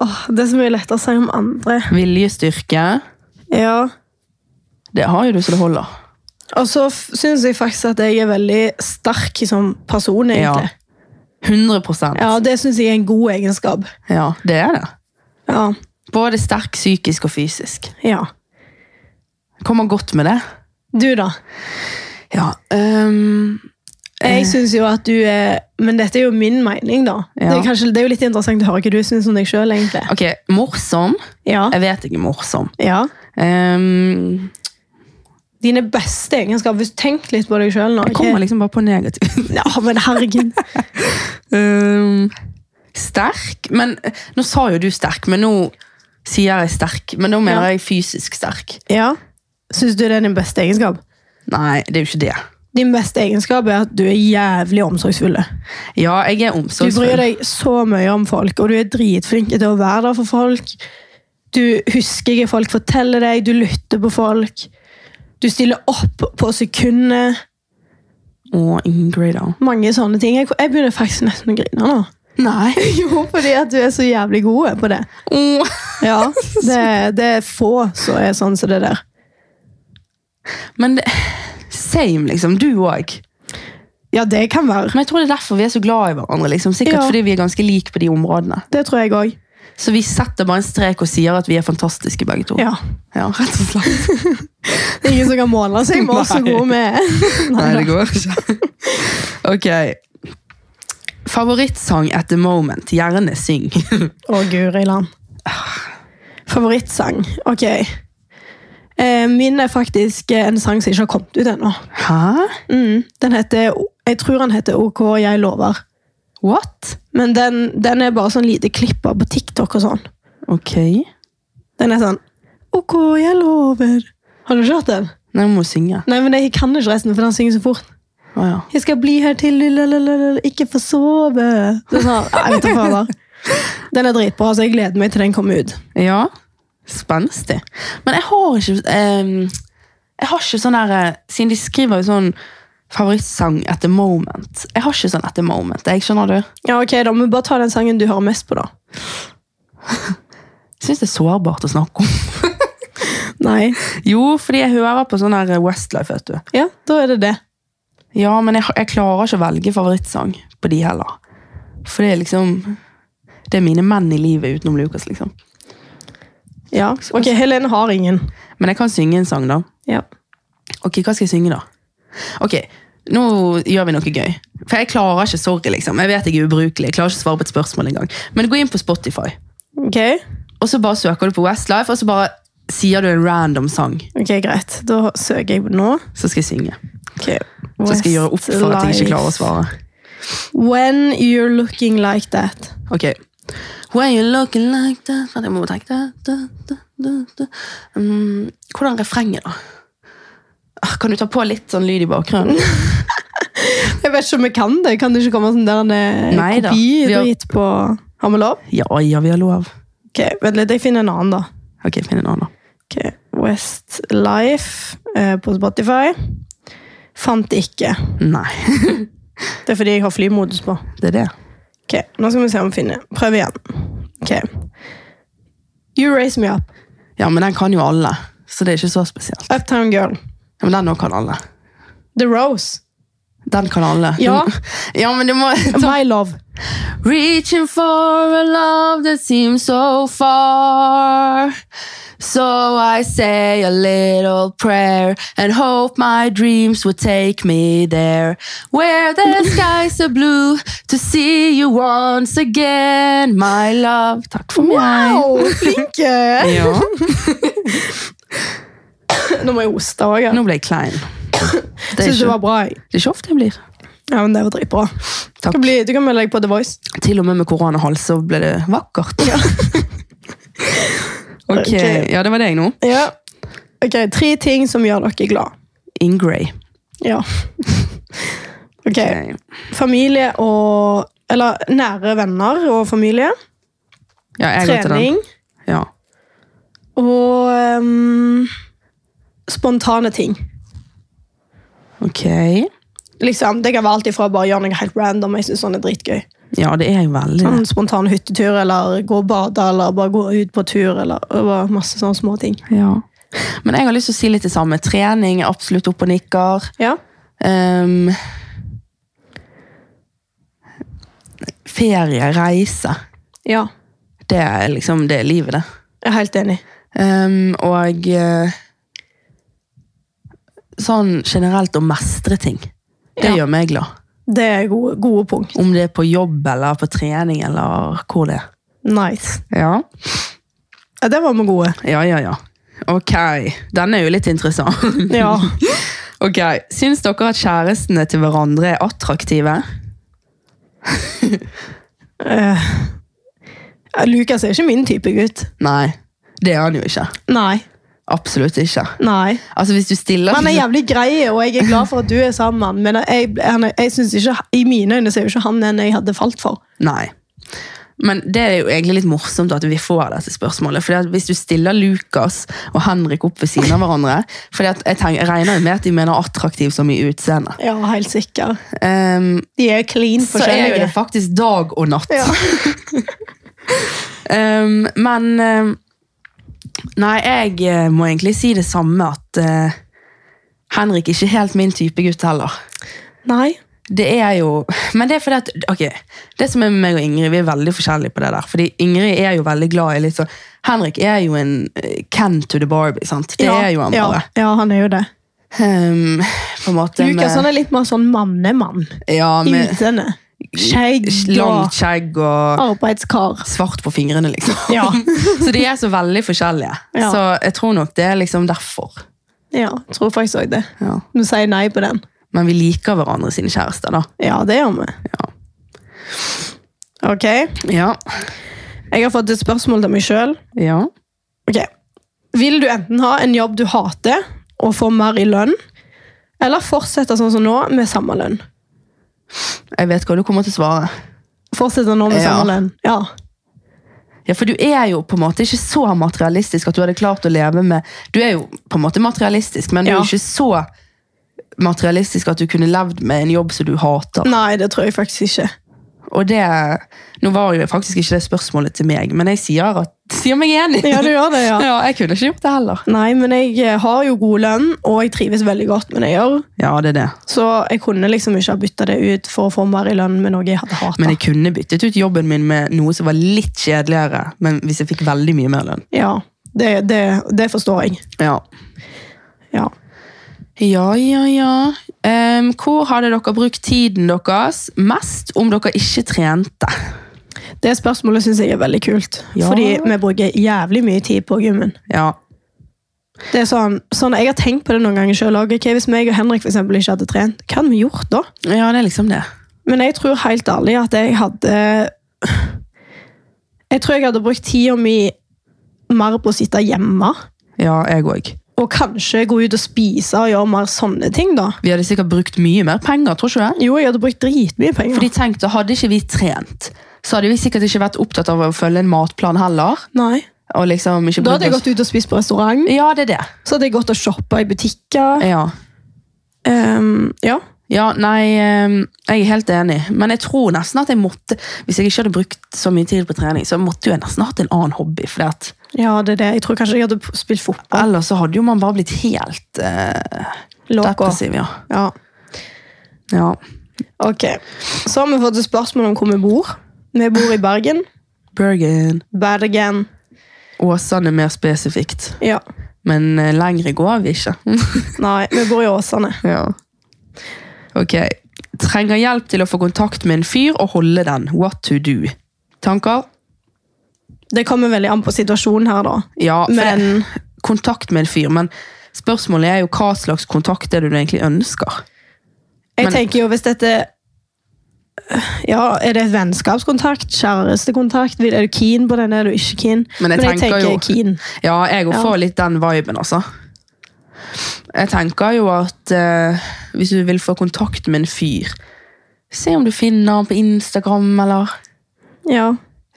Speaker 1: Åh, det er så mye lettere å si om andre.
Speaker 2: Viljestyrke.
Speaker 1: Ja.
Speaker 2: Det har jo du så det holder.
Speaker 1: Og så f- syns jeg faktisk at jeg er veldig sterk som person, egentlig.
Speaker 2: 100
Speaker 1: Ja, det syns jeg er en god egenskap.
Speaker 2: Ja, det er det.
Speaker 1: Ja.
Speaker 2: Både sterk psykisk og fysisk.
Speaker 1: ja.
Speaker 2: Kommer godt med det.
Speaker 1: Du, da?
Speaker 2: Ja. ehm,
Speaker 1: Jeg syns jo at du er Men dette er jo min mening, da.
Speaker 2: Ja.
Speaker 1: Det, er kanskje, det er jo litt interessant å høre hva du syns om deg sjøl, egentlig.
Speaker 2: ok, morsom.
Speaker 1: Ja.
Speaker 2: Jeg vet ikke morsom.
Speaker 1: ja.
Speaker 2: Ehm,
Speaker 1: Dine beste egenskaper. Hvis- Tenk litt på deg sjøl nå.
Speaker 2: jeg kommer liksom bare på negativt.
Speaker 1: Ja, men herregud.
Speaker 2: Ehm, sterk, men nå sa jo du sterk, men nå sier jeg sterk. Men nå mener
Speaker 1: Ja.
Speaker 2: jeg fysisk sterk.
Speaker 1: Ja. Syns du det er din beste egenskap?
Speaker 2: Nei, det er jo ikke det.
Speaker 1: Din beste egenskap er at du er jævlig omsorgsfull.
Speaker 2: Ja, jeg er
Speaker 1: Du bryr
Speaker 2: omsorgsfull.
Speaker 1: deg så mye om folk, og du er dritflink til å være der for folk. Du husker hva folk forteller deg, du lytter på folk. Du stiller opp på sekundet.
Speaker 2: Å, Ingrid, da.
Speaker 1: Mange sånne ting. Jeg, jeg begynner faktisk nesten å grine nå.
Speaker 2: Nei.
Speaker 1: Jo, fordi at du er så jævlig god på det.
Speaker 2: Å,
Speaker 1: Ja, Det, det er få som er sånn som det der.
Speaker 2: Men det, same, liksom. Du òg.
Speaker 1: Ja, det kan være.
Speaker 2: Men jeg tror det er derfor vi er så glad i hverandre. liksom. Sikkert
Speaker 1: Ja.
Speaker 2: fordi vi er ganske like på de områdene.
Speaker 1: Det tror jeg òg.
Speaker 2: Så vi setter bare en strek og sier at vi er fantastiske begge to.
Speaker 1: Ja.
Speaker 2: Ja, rett og slett.
Speaker 1: Det er ingen som kan måle seg med oss så
Speaker 2: Nei.
Speaker 1: gode vi er.
Speaker 2: Nei, det går ikke. ok. Favorittsang at the moment. Gjerne syng.
Speaker 1: Å, guri land. Favorittsang. Ok. Eh, Min er faktisk eh, en sang som ikke har kommet ut ennå.
Speaker 2: Hæ?
Speaker 1: Mm. Den heter Jeg tror den heter OK, jeg lover.
Speaker 2: What?
Speaker 1: Men den, den er bare sånn lite klipp av på TikTok og sånn.
Speaker 2: Ok.
Speaker 1: Den er sånn OK, jeg lover. Har du ikke hørt den?
Speaker 2: Nei, jeg må synge.
Speaker 1: Nei, men jeg kan ikke resten, for den synger så fort.
Speaker 2: Å ja.
Speaker 1: Jeg skal bli her til du lalalala, ikke få sove. Det er sånn, Nei, vet du hva da. Den er dritbra, så jeg gleder meg til den kommer ut.
Speaker 2: Ja. Spenstig. Men jeg har ikke ehm, Jeg har ikke sånn der eh, Siden de skriver jo sånn favorittsang at the moment. Jeg har ikke sånn at the moment. Jeg skjønner du.
Speaker 1: Ja, ok da, men Bare ta den sangen du hører mest på, da.
Speaker 2: Jeg syns det er sårbart å snakke om.
Speaker 1: Nei.
Speaker 2: Jo, fordi jeg hører på sånn her Westlife, vet du.
Speaker 1: Ja, da er det det.
Speaker 2: Ja, men jeg, jeg klarer ikke å velge favorittsang på de heller. For det er liksom Det er mine menn i livet utenom Lukas, liksom.
Speaker 1: Ja, ok, Helene har ingen.
Speaker 2: Men jeg kan synge en sang, da.
Speaker 1: Ja.
Speaker 2: Ok, hva skal jeg synge, da? Ok, nå gjør vi noe gøy. For jeg klarer ikke sorry, liksom. Jeg vet jeg er ubrukelig. Jeg klarer ikke å svare på et spørsmål engang. Men gå inn på Spotify,
Speaker 1: Ok,
Speaker 2: og så bare søker du på Westlife, og så bare sier du en random sang,
Speaker 1: ok, greit. Da søker jeg nå.
Speaker 2: så skal jeg synge.
Speaker 1: Ok,
Speaker 2: Så skal jeg gjøre opp for at jeg ikke klarer å svare.
Speaker 1: When you're looking like that.
Speaker 2: Ok. When you looking like that Vent, Jeg må tenke da, da, da, da, da. Mm, Hvordan er refrenget, da? Ah, Kan du ta på litt sånn lyd i bakgrunnen?
Speaker 1: Jeg vet ikke om jeg kan det. Kan det ikke komme sånn der en eh,
Speaker 2: Nei da, vi har-
Speaker 1: kopidrit på Har vi lov?
Speaker 2: Ja, ja, vi har lov.
Speaker 1: Ok, Vent litt, jeg finner en annen, da.
Speaker 2: Ok, finn en annen. da.
Speaker 1: Ok, Westlife eh, på Spotify. Fant ikke.
Speaker 2: Nei,
Speaker 1: Det er fordi jeg har flymodus på.
Speaker 2: det er det.
Speaker 1: Ok, Nå skal vi se om vi finner. Prøv igjen. Ok. You Raise Me Up.
Speaker 2: Ja, men den kan jo alle, så det er ikke så spesielt.
Speaker 1: Uptown Girl.
Speaker 2: Ja, men den også kan alle.
Speaker 1: The Rose.
Speaker 2: Den kan alle.
Speaker 1: Ja.
Speaker 2: ja men du må
Speaker 1: My Love.
Speaker 2: Reaching for a love that seems so far. So I say a little prayer and hope my dreams will take me there. Where the skies are blue to see you once again, my love. Takk for meg.
Speaker 1: Wow, flinke!
Speaker 2: Ja.
Speaker 1: Nå må jeg hoste òg.
Speaker 2: Nå ble jeg klein. Det er
Speaker 1: Syns det
Speaker 2: ikke,
Speaker 1: var bra. jeg.
Speaker 2: det er ikke ofte jeg blir.
Speaker 1: Ja, men Det var dritbra.
Speaker 2: Takk.
Speaker 1: Du kan, bli, du kan melde deg på The Voice.
Speaker 2: Til og med med koronahals så ble det vakkert. ok,
Speaker 1: Ok.
Speaker 2: ja det var deg nå.
Speaker 1: Ja. Ok, Tre ting som gjør dere glad.
Speaker 2: Ingray.
Speaker 1: Ja. Ok.
Speaker 2: Ok.
Speaker 1: Familie og Eller nære venner og familie.
Speaker 2: Ja, jeg går til den.
Speaker 1: Trening.
Speaker 2: Ja.
Speaker 1: Og ehm, spontane ting.
Speaker 2: Ok.
Speaker 1: Liksom, Det kan være alt ifra å bare gjøre noe helt random. Jeg synes sånn er dritgøy.
Speaker 2: Ja, det er jo veldig det.
Speaker 1: Sånn spontan hyttetur, eller gå og bade, eller bare gå ut på tur, eller og bare masse sånne små ting.
Speaker 2: Ja. Men jeg har lyst til å si litt det samme. Trening er absolutt opp og Ehm, nikker.
Speaker 1: Ja.
Speaker 2: Ehm, ferie, reise.
Speaker 1: Ja,
Speaker 2: Det er liksom det er livet, det.
Speaker 1: jeg er helt enig.
Speaker 2: Ehm, og eh, sånn generelt å mestre ting. Det
Speaker 1: Ja.
Speaker 2: gjør meg glad.
Speaker 1: Det er gode, gode punkt.
Speaker 2: Om det er på jobb eller på trening eller hvor det er.
Speaker 1: Nice.
Speaker 2: Ja,
Speaker 1: Ja, der var vi gode.
Speaker 2: ja, ja. ja. Ok, den er jo litt interessant.
Speaker 1: Ja.
Speaker 2: ok, Syns dere at kjærestene til hverandre er attraktive?
Speaker 1: Eh, Lukas er ikke min type gutt.
Speaker 2: Nei, det er han jo ikke.
Speaker 1: Nei.
Speaker 2: Absolutt ikke.
Speaker 1: Nei.
Speaker 2: Altså Hvis du stiller
Speaker 1: Han er jævlig grei, og jeg er glad for at du er sammen med han, men jeg, han er- jeg synes ikke, i mine øyne så er jo ikke han den jeg hadde falt for.
Speaker 2: Nei. Men det er jo egentlig litt morsomt at vi får dette spørsmålet. Fordi at Hvis du stiller Lukas og Henrik opp ved siden av hverandre fordi at jeg, tenker, jeg regner jo med at de mener attraktiv som i utseende.
Speaker 1: Ja, helt sikker.
Speaker 2: Ehm,
Speaker 1: De er clean
Speaker 2: så er jo det
Speaker 1: forskjellige.
Speaker 2: faktisk dag og natt.
Speaker 1: Ja.
Speaker 2: Ehm, men ehm, Nei, jeg eh, må egentlig si det samme at eh, Henrik er ikke helt min type gutt heller.
Speaker 1: Nei.
Speaker 2: Det er jo Men det er fordi at Ok, det som er med meg og Ingrid, vi er veldig forskjellige på det der. Fordi Ingrid er jo veldig glad i litt sånn Henrik er jo en eh, Ken to the Barbie, sant? Det
Speaker 1: Ja,
Speaker 2: er jo han
Speaker 1: ja,
Speaker 2: bare.
Speaker 1: Ja, han er jo det.
Speaker 2: Ehm, på en måte
Speaker 1: Lukas han
Speaker 2: med,
Speaker 1: er litt mer sånn mannemann
Speaker 2: ja,
Speaker 1: i
Speaker 2: eh, med
Speaker 1: utseendet. Skjegg
Speaker 2: langt
Speaker 1: og
Speaker 2: skjegg
Speaker 1: Ah.
Speaker 2: og
Speaker 1: arbeidskar.
Speaker 2: svart på fingrene, liksom.
Speaker 1: Ja.
Speaker 2: så de er så veldig forskjellige.
Speaker 1: Ja.
Speaker 2: Så jeg tror nok det er liksom derfor.
Speaker 1: Ja, tror faktisk òg det.
Speaker 2: Ja.
Speaker 1: Du sier nei på den.
Speaker 2: Men vi liker hverandre sine kjærester, da.
Speaker 1: Ja, det gjør vi.
Speaker 2: Ja.
Speaker 1: Ok, jeg
Speaker 2: Ja.
Speaker 1: har fått et spørsmål til meg sjøl.
Speaker 2: ja.
Speaker 1: Ok. Vil du enten ha en jobb du hater, og få mer i lønn, eller fortsette sånn som nå, med samme lønn?
Speaker 2: Jeg vet hva du kommer til å svare.
Speaker 1: Fortsette nå med
Speaker 2: Ja.
Speaker 1: samme lønn? Ja.
Speaker 2: Ja, for du er jo på en måte ikke så materialistisk at du hadde klart å leve med Du er jo på en måte materialistisk, men du er
Speaker 1: Ja.
Speaker 2: jo ikke så materialistisk at du kunne levd med en jobb som du hater.
Speaker 1: Nei, det tror jeg faktisk ikke.
Speaker 2: Og det Nå var jo faktisk ikke det spørsmålet til meg, men jeg sier, at, sier meg enig.
Speaker 1: Ja, du gjør det, ja.
Speaker 2: Ja, jeg kunne ikke gjort det heller.
Speaker 1: Nei, men jeg eh, har jo god lønn, og jeg trives veldig godt med det jeg gjør.
Speaker 2: Ja, det er det.
Speaker 1: Så jeg kunne liksom ikke ha bytta det ut for å få mer i lønn med noe jeg hadde hata.
Speaker 2: Men jeg kunne byttet ut jobben min med noe som var litt kjedeligere, men hvis jeg fikk veldig mye mer lønn.
Speaker 1: Ja, det, det, det forstår jeg.
Speaker 2: Ja,
Speaker 1: Ja.
Speaker 2: ja, ja. ja. Em, hvor hadde dere brukt tiden deres mest om dere ikke trente?
Speaker 1: Det spørsmålet syns jeg er veldig kult,
Speaker 2: Ja.
Speaker 1: fordi vi bruker jævlig mye tid på gymmen.
Speaker 2: Ja,
Speaker 1: Det er sånn, sånn, Jeg har tenkt på det noen ganger sjøl òg. hvis meg og Henrik for eksempel, ikke hadde trent, hva hadde vi gjort da?
Speaker 2: Ja, det er liksom det.
Speaker 1: Men jeg tror helt ærlig at jeg hadde Jeg tror jeg hadde brukt tida mi mer på å sitte hjemme.
Speaker 2: Ja, jeg òg.
Speaker 1: Og kanskje gå ut og spise og gjøre mer sånne ting, da.
Speaker 2: Vi hadde sikkert brukt mye mer penger, tror ikke du det?
Speaker 1: Jo, jeg hadde brukt dritmye penger.
Speaker 2: Fordi tenk, da hadde ikke vi trent, så hadde vi sikkert ikke vært opptatt av å følge en matplan heller.
Speaker 1: Nei.
Speaker 2: Og liksom ikke
Speaker 1: Da hadde jeg
Speaker 2: brydd oss-
Speaker 1: gått ut og spist på restaurant.
Speaker 2: Ja, det er det.
Speaker 1: Så hadde jeg gått og shoppa i butikker.
Speaker 2: Ja.
Speaker 1: Ehm, ja.
Speaker 2: ja, nei, ehm, jeg er helt enig. Men jeg tror nesten at jeg måtte Hvis jeg ikke hadde brukt så mye tid på trening, så måtte jo jeg nesten hatt en annen hobby. For at,
Speaker 1: ja, det er det. Jeg tror kanskje jeg hadde spilt fotball.
Speaker 2: ellers så hadde jo man bare blitt helt uh,
Speaker 1: Loco.
Speaker 2: depressiv. Ja.
Speaker 1: Ja.
Speaker 2: ja.
Speaker 1: Ok, så har vi fått et spørsmål om hvor vi bor. Vi bor i Bergen.
Speaker 2: Bergen.
Speaker 1: Bergen.
Speaker 2: Åsane mer spesifikt.
Speaker 1: Ja.
Speaker 2: Men eh, lengre går vi ikke.
Speaker 1: Nei, vi bor i Åsane.
Speaker 2: Ja. Ok. Trenger hjelp til å få kontakt med en fyr og holde den. What to do? Tanker?
Speaker 1: Det kommer veldig an på situasjonen her, da.
Speaker 2: Ja, for det-
Speaker 1: Men
Speaker 2: kontakt med en fyr, men spørsmålet er jo hva slags kontakt er det du egentlig ønsker?
Speaker 1: jeg
Speaker 2: Men-
Speaker 1: tenker jo hvis dette Ja, er det et vennskapskontakt? Kjærestekontakt? Vil- Er du keen på den? Er du ikke keen?
Speaker 2: Men jeg tenker jo-
Speaker 1: keen.
Speaker 2: Ja, jeg òg
Speaker 1: Ja.
Speaker 2: får litt den viben, altså. Jeg tenker jo at eh, hvis du vil få kontakt med en fyr, se om du finner han på Instagram, eller
Speaker 1: Ja.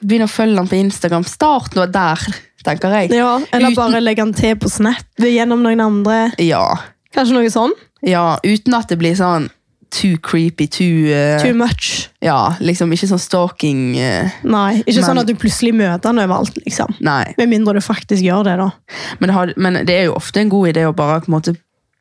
Speaker 2: begynn å følge han på Instagram. Start nå der, tenker jeg.
Speaker 1: ja. Eller
Speaker 2: Uten-
Speaker 1: bare legge den til på Snap gjennom noen andre.
Speaker 2: Ja.
Speaker 1: Kanskje noe sånn?
Speaker 2: Ja, uten at det blir sånn too creepy, too, eh,
Speaker 1: Too much.
Speaker 2: Ja, liksom ikke sånn stalking eh,
Speaker 1: Nei. Ikke
Speaker 2: Men-
Speaker 1: sånn at du plutselig møter den overalt, liksom.
Speaker 2: Nei.
Speaker 1: Med mindre du faktisk gjør det, da.
Speaker 2: Men det, har, men det er jo ofte en god idé å bare på en måte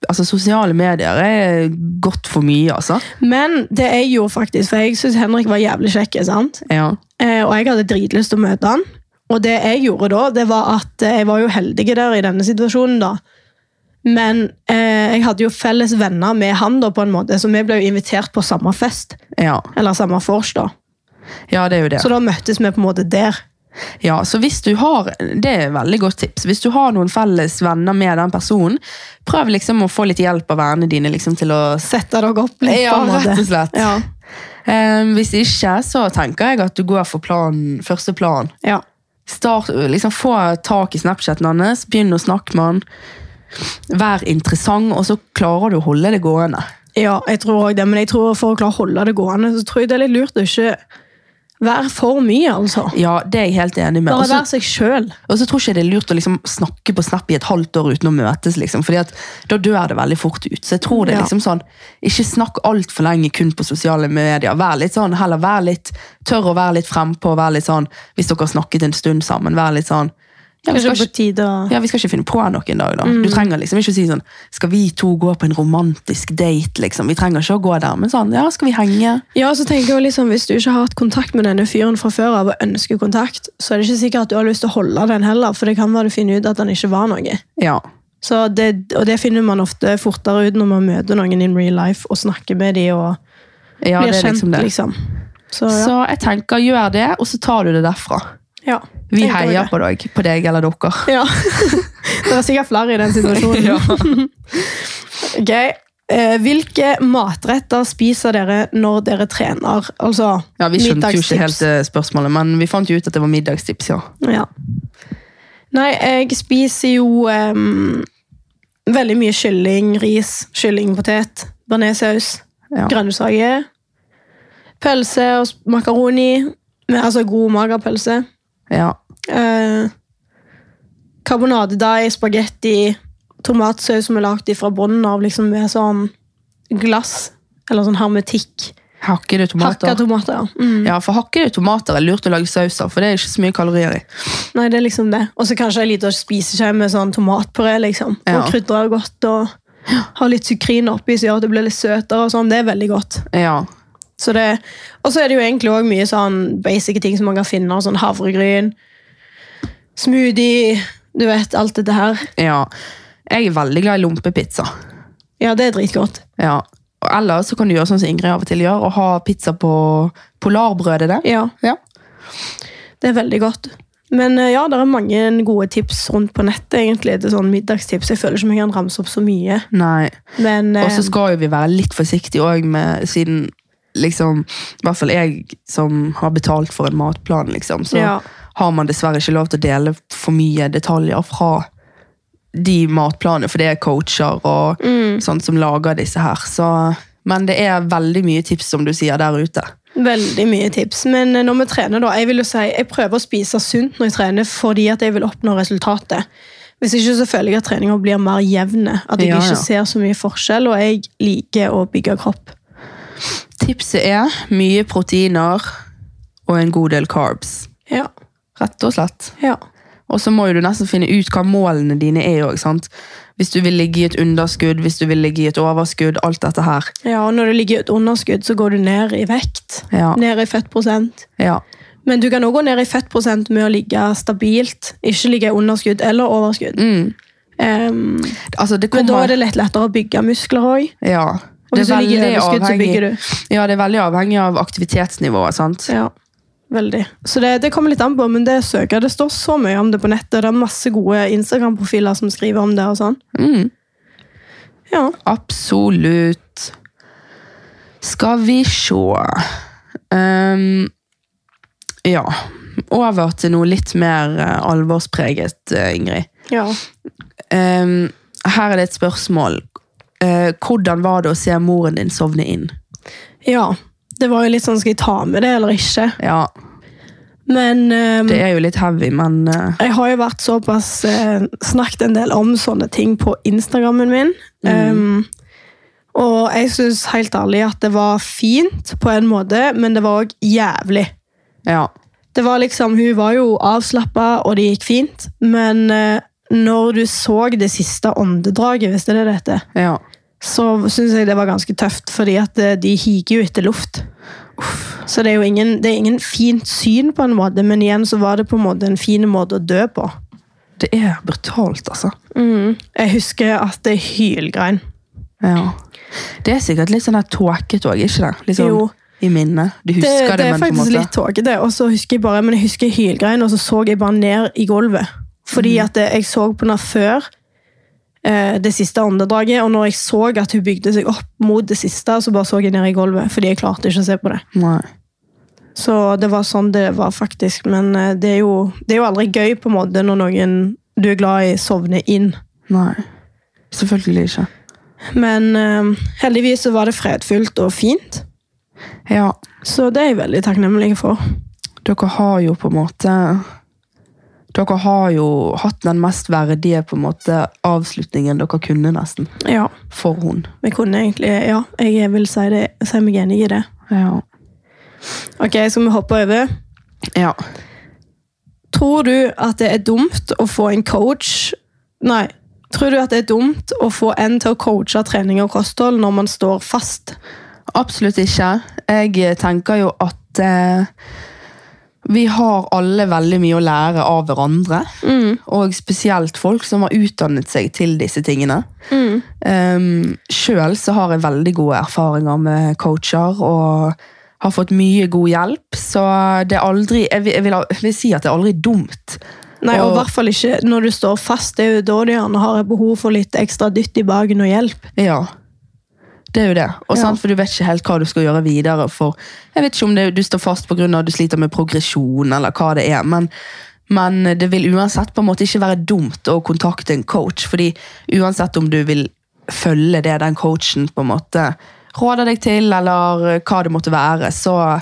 Speaker 2: altså Sosiale medier er godt for mye, altså.
Speaker 1: Men det jeg gjorde faktisk, for jeg syntes Henrik var jævlig kjekk, sant?
Speaker 2: Ja.
Speaker 1: Eh, og jeg hadde dritlyst til å møte han. Og det jeg gjorde da, det var at eh, jeg var jo heldig der i denne situasjonen, da. Men eh, jeg hadde jo felles venner med han, da, på en måte, så vi ble jo invitert på samme fest.
Speaker 2: Ja,
Speaker 1: Eller samme vors, da.
Speaker 2: ja det er jo det.
Speaker 1: Så da møttes vi på en måte der.
Speaker 2: Ja, så hvis du har, Det er et veldig godt tips. Hvis du har noen felles venner med den personen, prøv liksom å få litt hjelp av vennene dine liksom til å
Speaker 1: Sette dere opp litt,
Speaker 2: Ja,
Speaker 1: på en måte.
Speaker 2: rett og slett.
Speaker 1: Ja,
Speaker 2: Ehm, Hvis ikke, så tenker jeg at du går for plan, første plan.
Speaker 1: ja.
Speaker 2: Start, liksom Få tak i Snapchaten hans, begynn å snakke med han. Vær interessant, og så klarer du å holde det gående.
Speaker 1: ja jeg tror også det. Men jeg tror for å klare å holde det gående, så tror jeg det er litt lurt å ikke være for mye, altså.
Speaker 2: Ja, det er jeg helt enig med.
Speaker 1: Bare
Speaker 2: Og så-
Speaker 1: være seg sjøl.
Speaker 2: Og så tror ikke jeg det er lurt å liksom snakke på Snap i et halvt år uten å møtes. liksom, fordi at Da dør det veldig fort ut. Så jeg tror det er
Speaker 1: Ja.
Speaker 2: liksom sånn, Ikke snakk altfor lenge kun på sosiale medier. Vær litt sånn, heller vær litt tørr å være litt frempå. Vær litt sånn, Hvis dere har snakket en stund sammen, vær litt sånn ja, vi,
Speaker 1: Kanskje
Speaker 2: skal
Speaker 1: på
Speaker 2: ikke,
Speaker 1: tide å
Speaker 2: ja, vi skal ikke finne på noe en dag, da. Du trenger liksom ikke å si sånn Skal vi to gå på en romantisk date, liksom? Vi trenger ikke å gå der, men sånn Ja, skal vi henge?
Speaker 1: Ja, så tenker jeg liksom, Hvis du ikke har hatt kontakt med denne fyren fra før av og ønsker kontakt, så er det ikke sikkert at du har lyst til å holde den heller, for det kan være du finner ut at han ikke var noe.
Speaker 2: Ja.
Speaker 1: Så det, og det finner man ofte fortere ut når man møter noen in real life og snakker med dem og
Speaker 2: ja
Speaker 1: blir
Speaker 2: det er
Speaker 1: kjent,
Speaker 2: liksom
Speaker 1: liksom.
Speaker 2: det.
Speaker 1: Så ja.
Speaker 2: Så jeg tenker, gjør det, og så tar du det derfra.
Speaker 1: ja
Speaker 2: Vi
Speaker 1: tenker
Speaker 2: heier
Speaker 1: jeg
Speaker 2: på deg, på deg eller dere.
Speaker 1: det. Ja. det var sikkert flere i den situasjonen. Ok. Eh, hvilke matretter spiser dere når dere trener? Altså
Speaker 2: Ja, Vi skjønte jo
Speaker 1: middagstips.
Speaker 2: ikke helt eh, spørsmålet, men vi fant jo ut at det var middagstips. ja.
Speaker 1: Ja. Nei, jeg spiser jo em, veldig mye kylling, ris, kylling, potet, bearnéssaus,
Speaker 2: Ja.
Speaker 1: grønnsaker, pølse og s- makaroni, med, altså god magerpølse,
Speaker 2: ja.
Speaker 1: eh, karbonadedeig, spagetti, tomatsaus som er lagd fra bunnen av, liksom med sånn glass, eller sånn hermetikk.
Speaker 2: Hakkede tomater.
Speaker 1: Hakka tomater, ja. Mm.
Speaker 2: ja, for Hakkede tomater er lurt å lage saus av, for det er ikke så mye kalorier i.
Speaker 1: Nei, det er liksom det. Og så kanskje en liten spiseskje med sånn tomatpuré. liksom. Og
Speaker 2: Ja.
Speaker 1: krydrer godt og har litt sukrin oppi, så gjør at det blir litt søtere. og sånn. Det er veldig godt.
Speaker 2: Ja,
Speaker 1: Så det, og så er det jo egentlig også mye sånn basic ting som man kan finne. sånn Havregryn, smoothie, du vet, alt dette her.
Speaker 2: ja. Jeg er veldig glad i lompepizza.
Speaker 1: Ja, det er dritgodt.
Speaker 2: Ja. Og Eller så kan du gjøre sånn som Ingrid av og til gjør, og ha pizza på polarbrødet. der.
Speaker 1: Ja,
Speaker 2: Ja.
Speaker 1: det er veldig godt. Men eh, ja, det er mange gode tips rundt på nettet. egentlig, til sånn middagstips. Jeg føler ikke vi kan ramse opp så mye.
Speaker 2: Nei.
Speaker 1: Men eh,
Speaker 2: Og så skal jo vi være litt forsiktige òg med Siden liksom I hvert fall jeg som har betalt for en matplan, liksom, så
Speaker 1: Ja.
Speaker 2: har man dessverre ikke lov til å dele for mye detaljer fra de matplanene, for det er coacher og
Speaker 1: Mm.
Speaker 2: sånt som lager disse her. Så, men det er veldig mye tips, som du sier, der ute.
Speaker 1: Veldig mye tips. Men eh, når vi trener, da Jeg vil jo si, jeg prøver å spise sunt når jeg trener fordi at jeg vil oppnå resultatet. Hvis ikke så føler jeg at treninga blir mer jevne. At jeg
Speaker 2: Ja, ja.
Speaker 1: ikke ser så mye forskjell, og jeg liker å bygge kropp.
Speaker 2: Tipset er mye proteiner og en god del carbs.
Speaker 1: Ja,
Speaker 2: Rett og slett.
Speaker 1: ja.
Speaker 2: Og så må jo du nesten finne ut hva målene dine er òg. Hvis du vil ligge i et underskudd, hvis du vil ligge i et overskudd, alt dette her.
Speaker 1: ja og når du ligger i et underskudd, så går du ned i vekt.
Speaker 2: Ja.
Speaker 1: Ned i fettprosent.
Speaker 2: Ja.
Speaker 1: Men du kan òg gå ned i fettprosent med å ligge stabilt. Ikke ligge i underskudd eller overskudd.
Speaker 2: Mm.
Speaker 1: Em,
Speaker 2: Altså, det
Speaker 1: men da
Speaker 2: kommer
Speaker 1: er det lett lettere å bygge muskler òg.
Speaker 2: Ja.
Speaker 1: Og hvis du ligger i
Speaker 2: veldig
Speaker 1: underskudd, så
Speaker 2: avhengig-
Speaker 1: bygger du.
Speaker 2: Ja, det er veldig avhengig av aktivitetsnivået. sant?
Speaker 1: Ja, veldig. Så det, det kommer litt an på, men det søker jeg. Det står så mye om det på nettet, og det er masse gode Instagram-profiler som skriver om det og sånn.
Speaker 2: Mm.
Speaker 1: Ja.
Speaker 2: Absolutt. Skal vi sjå Ehm, Ja. Over til noe litt mer eh, alvorspreget, eh, Ingrid.
Speaker 1: ja.
Speaker 2: Ehm, her er det et spørsmål. Eh, hvordan var det å se moren din sovne inn?
Speaker 1: Ja. Det var jo litt sånn, skal jeg ta med det eller ikke?
Speaker 2: Ja,
Speaker 1: Men ehm,
Speaker 2: det er jo litt heavy, men eh,
Speaker 1: jeg har jo vært såpass eh, snakket en del om sånne ting på Instagrammen min.
Speaker 2: Mm.
Speaker 1: Ehm, og jeg synes helt ærlig at det var fint på en måte, men det var også jævlig.
Speaker 2: ja.
Speaker 1: det var liksom, Hun var jo avslappa, og det gikk fint. Men eh, når du så det siste åndedraget, hvis det er dette,
Speaker 2: Ja.
Speaker 1: så syns jeg det var ganske tøft, fordi at eh, de higer jo etter luft. Så det er jo ingen, det er ingen fint syn, på en måte, men igjen så var det på en måte en fin måte å dø på.
Speaker 2: Det er brutalt, altså.
Speaker 1: Jeg husker at det er hylgrein.
Speaker 2: Ja. Det er sikkert litt sånn her tåkete òg, ikke det? Litt sånn
Speaker 1: Jo.
Speaker 2: i minnet. Du
Speaker 1: Det,
Speaker 2: husker det,
Speaker 1: det er
Speaker 2: men på en
Speaker 1: faktisk
Speaker 2: måte
Speaker 1: litt tåkete. Og så husker jeg bare, men jeg husker hylgrein, og så så jeg bare ned i gulvet. Fordi
Speaker 2: Mm.
Speaker 1: at eh, jeg så på henne før eh, det siste åndedraget, og når jeg så at hun bygde seg opp mot det siste, så bare så jeg ned i gulvet, fordi jeg klarte ikke å se på det.
Speaker 2: Nei.
Speaker 1: Så det var sånn det var faktisk. Men eh, det er jo, det er jo aldri gøy på en måte når noen du er glad i, sovner inn.
Speaker 2: Nei. Selvfølgelig ikke.
Speaker 1: Men eh, heldigvis så var det fredfullt og fint,
Speaker 2: Ja,
Speaker 1: så det er jeg veldig takknemlig for.
Speaker 2: dere har jo på en måte Dere har jo hatt den mest verdige på en måte avslutningen dere kunne, nesten.
Speaker 1: Ja,
Speaker 2: For hun.
Speaker 1: vi kunne egentlig, ja, jeg vil si, det, si meg enig i det.
Speaker 2: Ja.
Speaker 1: Ok, skal vi hoppe over?
Speaker 2: ja.
Speaker 1: Tror du at det er dumt å få en coach Nei. Tror du at det er dumt å få en til å coache trening og kosthold når man står fast?
Speaker 2: Absolutt ikke. Jeg tenker jo at eh, vi har alle veldig mye å lære av hverandre. Og spesielt folk som har utdannet seg til disse tingene. Um, Sjøl så har jeg veldig gode erfaringer med coacher og har fått mye god hjelp. Så det er aldri Jeg vil, jeg vil, jeg vil si at det er aldri dumt.
Speaker 1: Nei, og i
Speaker 2: Og-
Speaker 1: hvert fall ikke når du står fast. Det er jo da du gjerne har behov for litt ekstra dytt i bagen og hjelp.
Speaker 2: Ja. Det er jo det. Og
Speaker 1: Ja.
Speaker 2: sant, For du vet ikke helt hva du skal gjøre videre. For jeg vet ikke om det, du står fast pga. at du sliter med progresjon, eller hva det er. Men, men det vil uansett på en måte ikke være dumt å kontakte en coach. fordi uansett om du vil følge det den coachen på en måte råder deg til, eller hva det måtte være, så,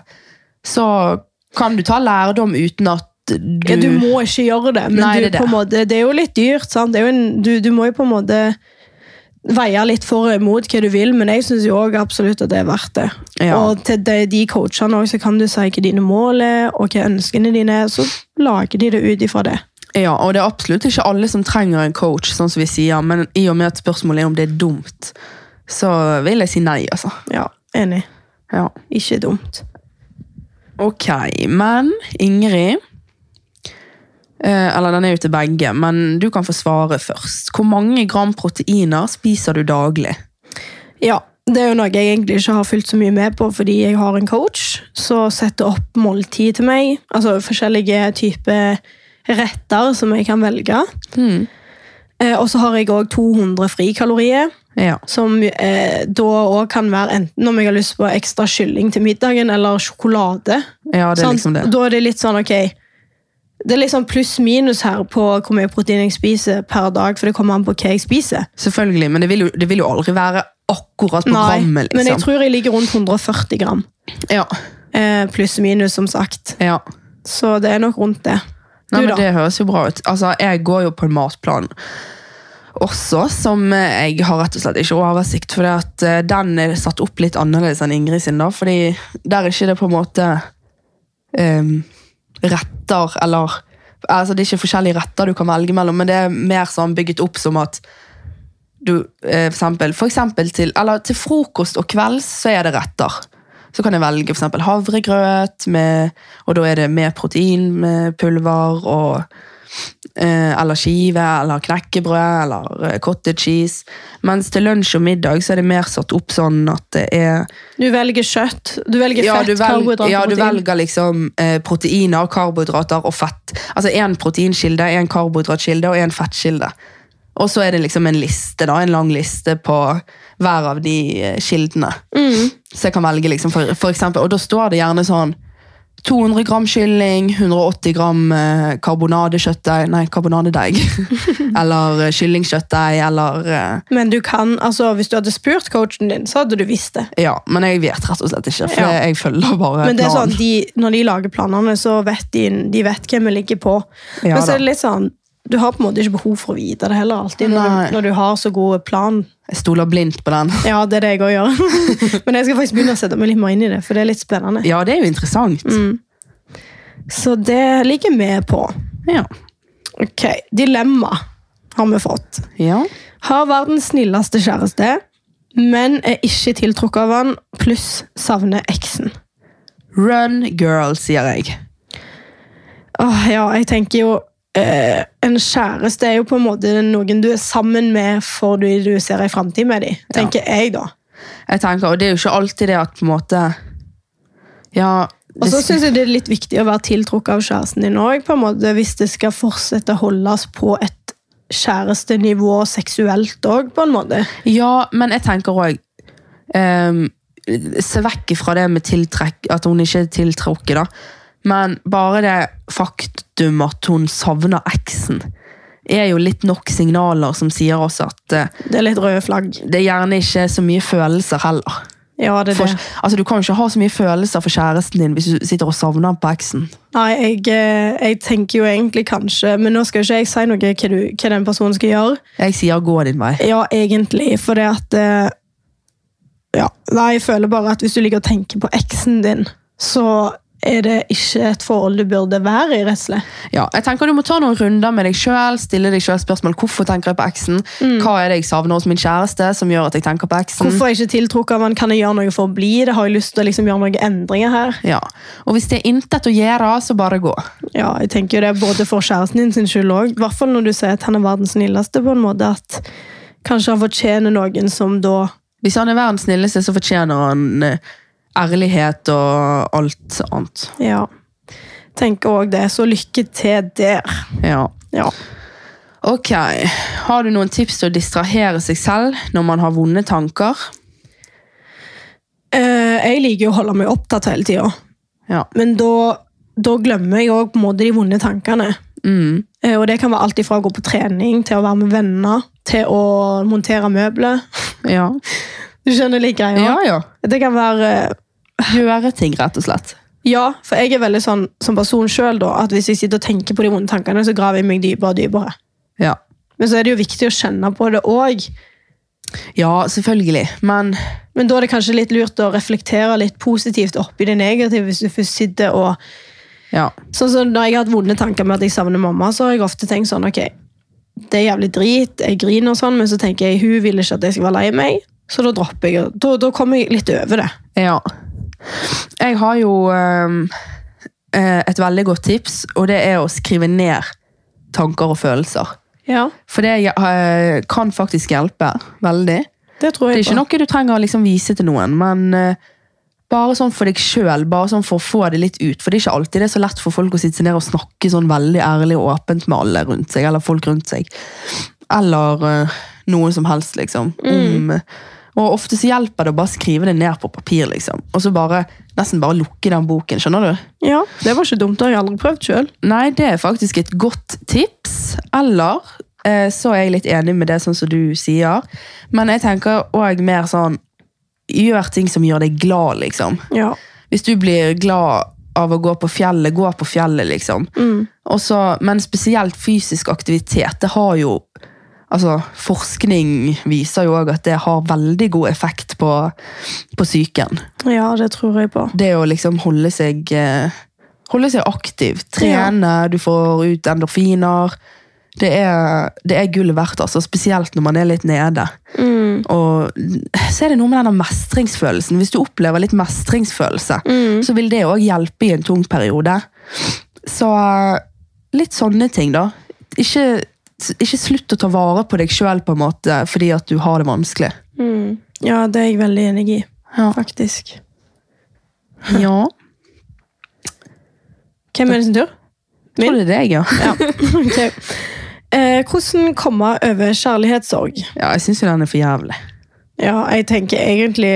Speaker 2: så kan du ta lærdom uten at du,
Speaker 1: Ja, du må ikke gjøre det, men
Speaker 2: Nei,
Speaker 1: du,
Speaker 2: det er det.
Speaker 1: På en måte, det er jo litt dyrt. Sant? Det er jo en, du, du må jo på en måte veie litt for og imot hva du vil, men jeg syns absolutt at det er verdt det.
Speaker 2: Ja.
Speaker 1: Og til de, de coachene også, så kan du si hva dine mål er, og hva ønskene dine er, så lager de det ut ifra det.
Speaker 2: Ja, og det er absolutt ikke alle som trenger en coach, sånn som vi sier, men i og med at spørsmålet er om det er dumt, så vil jeg si nei, altså.
Speaker 1: Ja, Enig.
Speaker 2: Ja.
Speaker 1: Ikke dumt.
Speaker 2: Ok, men Ingrid, eh, eller den er jo til begge, men du kan få svare først. Hvor mange gram proteiner spiser du daglig?
Speaker 1: Ja, det er jo noe jeg egentlig ikke har fulgt så mye med på, fordi jeg har en coach som setter opp måltid til meg. Altså forskjellige typer retter som jeg kan velge. Eh, og så har jeg òg 200 frikalorier,
Speaker 2: Ja.
Speaker 1: som eh, da òg kan være enten om jeg har lyst på ekstra kylling til middagen, eller sjokolade.
Speaker 2: ja, det er
Speaker 1: Sant?
Speaker 2: liksom det.
Speaker 1: Da er det litt sånn, ok Det er litt sånn pluss-minus her på hvor mye protein jeg spiser per dag, for det kommer an på hva jeg spiser.
Speaker 2: Selvfølgelig, men det vil jo, det vil jo aldri være akkurat på
Speaker 1: Nei,
Speaker 2: grammet, liksom.
Speaker 1: men jeg tror jeg ligger rundt 140 gram.
Speaker 2: Ja,
Speaker 1: Eh, Pluss-minus, som sagt.
Speaker 2: ja.
Speaker 1: Så det er nok rundt det. Du,
Speaker 2: Nei, men
Speaker 1: da?
Speaker 2: Det høres jo bra ut. Altså, Jeg går jo på en matplan også, som eh, jeg har rett og slett ikke oversikt for. at eh, Den er satt opp litt annerledes enn Ingrid sin. da, fordi der er ikke det på en måte em, retter eller altså Det er ikke forskjellige retter du kan velge mellom, men det er mer sånn bygget opp som at du, eh, for eksempel, for eksempel til, eller til frokost og kvelds så er det retter. Så kan jeg velge for eksempel havregrøt, med, og da er det med protein, med pulver, og, eh, eller skive, eller knekkebrød, eller eh, cottage cheese. Mens til lunsj og middag så er det mer satt opp sånn at det er
Speaker 1: Du velger kjøtt. Du velger
Speaker 2: ja,
Speaker 1: fett,
Speaker 2: du velger,
Speaker 1: karbohydrater,
Speaker 2: ja, du
Speaker 1: protein.
Speaker 2: velger liksom eh, proteiner, karbohydrater og fett. Altså én proteinkilde, én karbohydratkilde og én fettkilde. Og så er det liksom en liste, da, en lang liste på hver av de eh, kildene.
Speaker 1: Mm.
Speaker 2: Så jeg kan velge, liksom, for, for eksempel, og da står det gjerne sånn 200 gram kylling, 180 gram eh, karbonadekjøttdeig Nei, karbonadedeig. eller eh, kyllingkjøttdeig, eller eh,
Speaker 1: Men du kan, altså, hvis du hadde spurt coachen din, så hadde du visst det.
Speaker 2: Ja, men jeg vet rett og slett ikke, for
Speaker 1: Ja.
Speaker 2: jeg følger bare
Speaker 1: Men det er
Speaker 2: planen.
Speaker 1: sånn, de, når de lager planene, så vet de, de vet hvem vi ligger på.
Speaker 2: Ja
Speaker 1: Men så
Speaker 2: da.
Speaker 1: er det litt sånn, du har på en måte ikke behov for å vite det heller alltid, når,
Speaker 2: Nei.
Speaker 1: du, når du har så god plan.
Speaker 2: Jeg stoler blindt på den.
Speaker 1: Ja, det er det jeg også gjør. Men jeg skal faktisk begynne å sette meg litt mer inn i det, for det er litt spennende.
Speaker 2: Ja, det er jo interessant.
Speaker 1: Mm. Så det ligger vi på.
Speaker 2: Ja.
Speaker 1: Ok, dilemma. har vi fått.
Speaker 2: Ja.
Speaker 1: Har verdens snilleste kjæreste, men er ikke tiltrukket av han, pluss savner eksen.
Speaker 2: Run, girl, sier jeg.
Speaker 1: Åh, ja, jeg tenker jo eh, En kjæreste er jo på en måte noen du er sammen med for du, du ser ei framtid med dem, tenker jeg, da.
Speaker 2: Jeg tenker, Og det er jo ikke alltid det at på en måte Ja.
Speaker 1: Og så
Speaker 2: det-
Speaker 1: syns jeg det er litt viktig å være tiltrukket av kjæresten din òg, hvis det skal fortsette å holdes på et kjærestenivå seksuelt òg, på en måte.
Speaker 2: Ja, men jeg tenker òg Se vekk fra det med tiltrekk, at hun ikke er tiltrukket, da. Men bare det faktum at hun savner eksen, er jo litt nok signaler som sier oss at eh,
Speaker 1: Det er litt røde flagg.
Speaker 2: det er gjerne ikke så mye følelser heller.
Speaker 1: Ja, det er
Speaker 2: For,
Speaker 1: det.
Speaker 2: altså, du kan jo ikke ha så mye følelser for kjæresten din hvis du sitter og savner på eksen.
Speaker 1: Nei, jeg, eh, jeg tenker jo egentlig kanskje Men nå skal jo ikke jeg si noe hva, du, hva den personen skal gjøre.
Speaker 2: Jeg sier gå din vei.
Speaker 1: Ja, egentlig, for det at eh, ja, Nei, jeg føler bare at hvis du ligger og tenker på eksen din, så er det ikke et forhold du burde være i, rett og slett.
Speaker 2: Ja, jeg tenker Du må ta noen runder med deg sjøl, stille deg selv spørsmål hvorfor tenker jeg på eksen. Hva er det jeg savner hos min kjæreste som gjør at jeg tenker på eksen?
Speaker 1: Mm. Hvorfor er jeg ikke tiltrukket av han? Kan jeg gjøre noe for å bli det? Har jeg lyst til å liksom gjøre noen endringer her?
Speaker 2: Ja, Og hvis det er intet å gjøre, så bare gå.
Speaker 1: Ja, jeg tenker jo det er både for kjæresten din sin skyld òg. I hvert fall når du sier at han er verdens snilleste, på en måte at kanskje han fortjener noen som da
Speaker 2: Hvis han er verdens snilleste, så fortjener han eh, ærlighet og alt annet.
Speaker 1: Ja. Tenker òg det. Så lykke til der.
Speaker 2: Ja.
Speaker 1: Ja.
Speaker 2: Ok, Har du noen tips til å distrahere seg selv når man har vonde tanker?
Speaker 1: Eh, jeg liker jo å holde meg opptatt hele tida.
Speaker 2: Ja.
Speaker 1: Men da, da glemmer jeg òg på en måte de vonde tankene.
Speaker 2: Mm.
Speaker 1: Eh, Og det kan være alt ifra å gå på trening, til å være med venner, til å montere møbler.
Speaker 2: Ja.
Speaker 1: Du skjønner litt greia?
Speaker 2: ja, ja.
Speaker 1: Det kan være eh,
Speaker 2: Gjøre ting, rett og slett.
Speaker 1: Ja, for jeg er veldig sånn som person sjøl, at hvis jeg sitter og tenker på de vonde tankene, så graver jeg meg dypere og dypere.
Speaker 2: Ja.
Speaker 1: Men så er det jo viktig å kjenne på det òg.
Speaker 2: Ja, selvfølgelig. Men
Speaker 1: Men da er det kanskje litt lurt å reflektere litt positivt oppi det negative, hvis du først sitter og
Speaker 2: ja.
Speaker 1: Sånn som Når jeg har hatt vonde tanker med at jeg savner mamma, så har jeg ofte tenkt sånn, ok, det er jævlig drit, jeg griner og sånn, men så tenker jeg, hun vil ikke at jeg skal være lei meg, så da dropper jeg, da, da kommer jeg litt over det.
Speaker 2: Ja. Jeg har jo ehm, eh, et veldig godt tips, og det er å skrive ned tanker og følelser.
Speaker 1: Ja,
Speaker 2: For det eh, kan faktisk hjelpe veldig.
Speaker 1: det tror
Speaker 2: Det er
Speaker 1: jeg
Speaker 2: ikke
Speaker 1: på.
Speaker 2: noe du trenger å liksom vise til noen, men eh, bare sånn for deg sjøl, bare sånn for å få det litt ut. For det er ikke alltid det er så lett for folk å sitte seg ned og snakke sånn veldig ærlig og åpent med alle rundt seg, eller folk rundt seg. Eller eh, noe som helst, liksom. Om, og ofte så hjelper det å bare skrive det ned på papir, liksom. Og så bare, nesten bare lukke den boken, skjønner du?
Speaker 1: Ja, det var ikke dumt, det har jeg aldri prøvd selv.
Speaker 2: Nei, det er faktisk et godt tips. Eller eh, så er jeg litt enig med det sånn som du sier. Men jeg tenker òg mer sånn Gjør ting som gjør deg glad, liksom.
Speaker 1: Ja.
Speaker 2: Hvis du blir glad av å gå på fjellet, gå på fjellet, liksom. Og så- men spesielt fysisk aktivitet. Det har jo Altså, forskning viser jo òg at det har veldig god effekt på, på psyken
Speaker 1: ja, det tror jeg på.
Speaker 2: det å liksom holde seg eh, holde seg aktiv, trene, du får ut endorfiner. Det er, det er gullet verdt, altså, spesielt når man er litt nede. Mm. Og så er det noe med denne mestringsfølelsen. Hvis du opplever litt mestringsfølelse, så vil det òg hjelpe i en tung periode. Så eh, litt sånne ting, da. Ikke, ikke slutt å ta vare på deg sjøl fordi at du har det vanskelig.
Speaker 1: Mm. Ja, det er jeg veldig enig i,
Speaker 2: Ja.
Speaker 1: faktisk.
Speaker 2: ja.
Speaker 1: Hvem er det sin tur?
Speaker 2: Tror det er deg, ja.
Speaker 1: Ja, ok. Eh, hvordan komme over kjærlighetssorg?
Speaker 2: ja jeg syns jo den er for jævlig.
Speaker 1: Ja, jeg tenker egentlig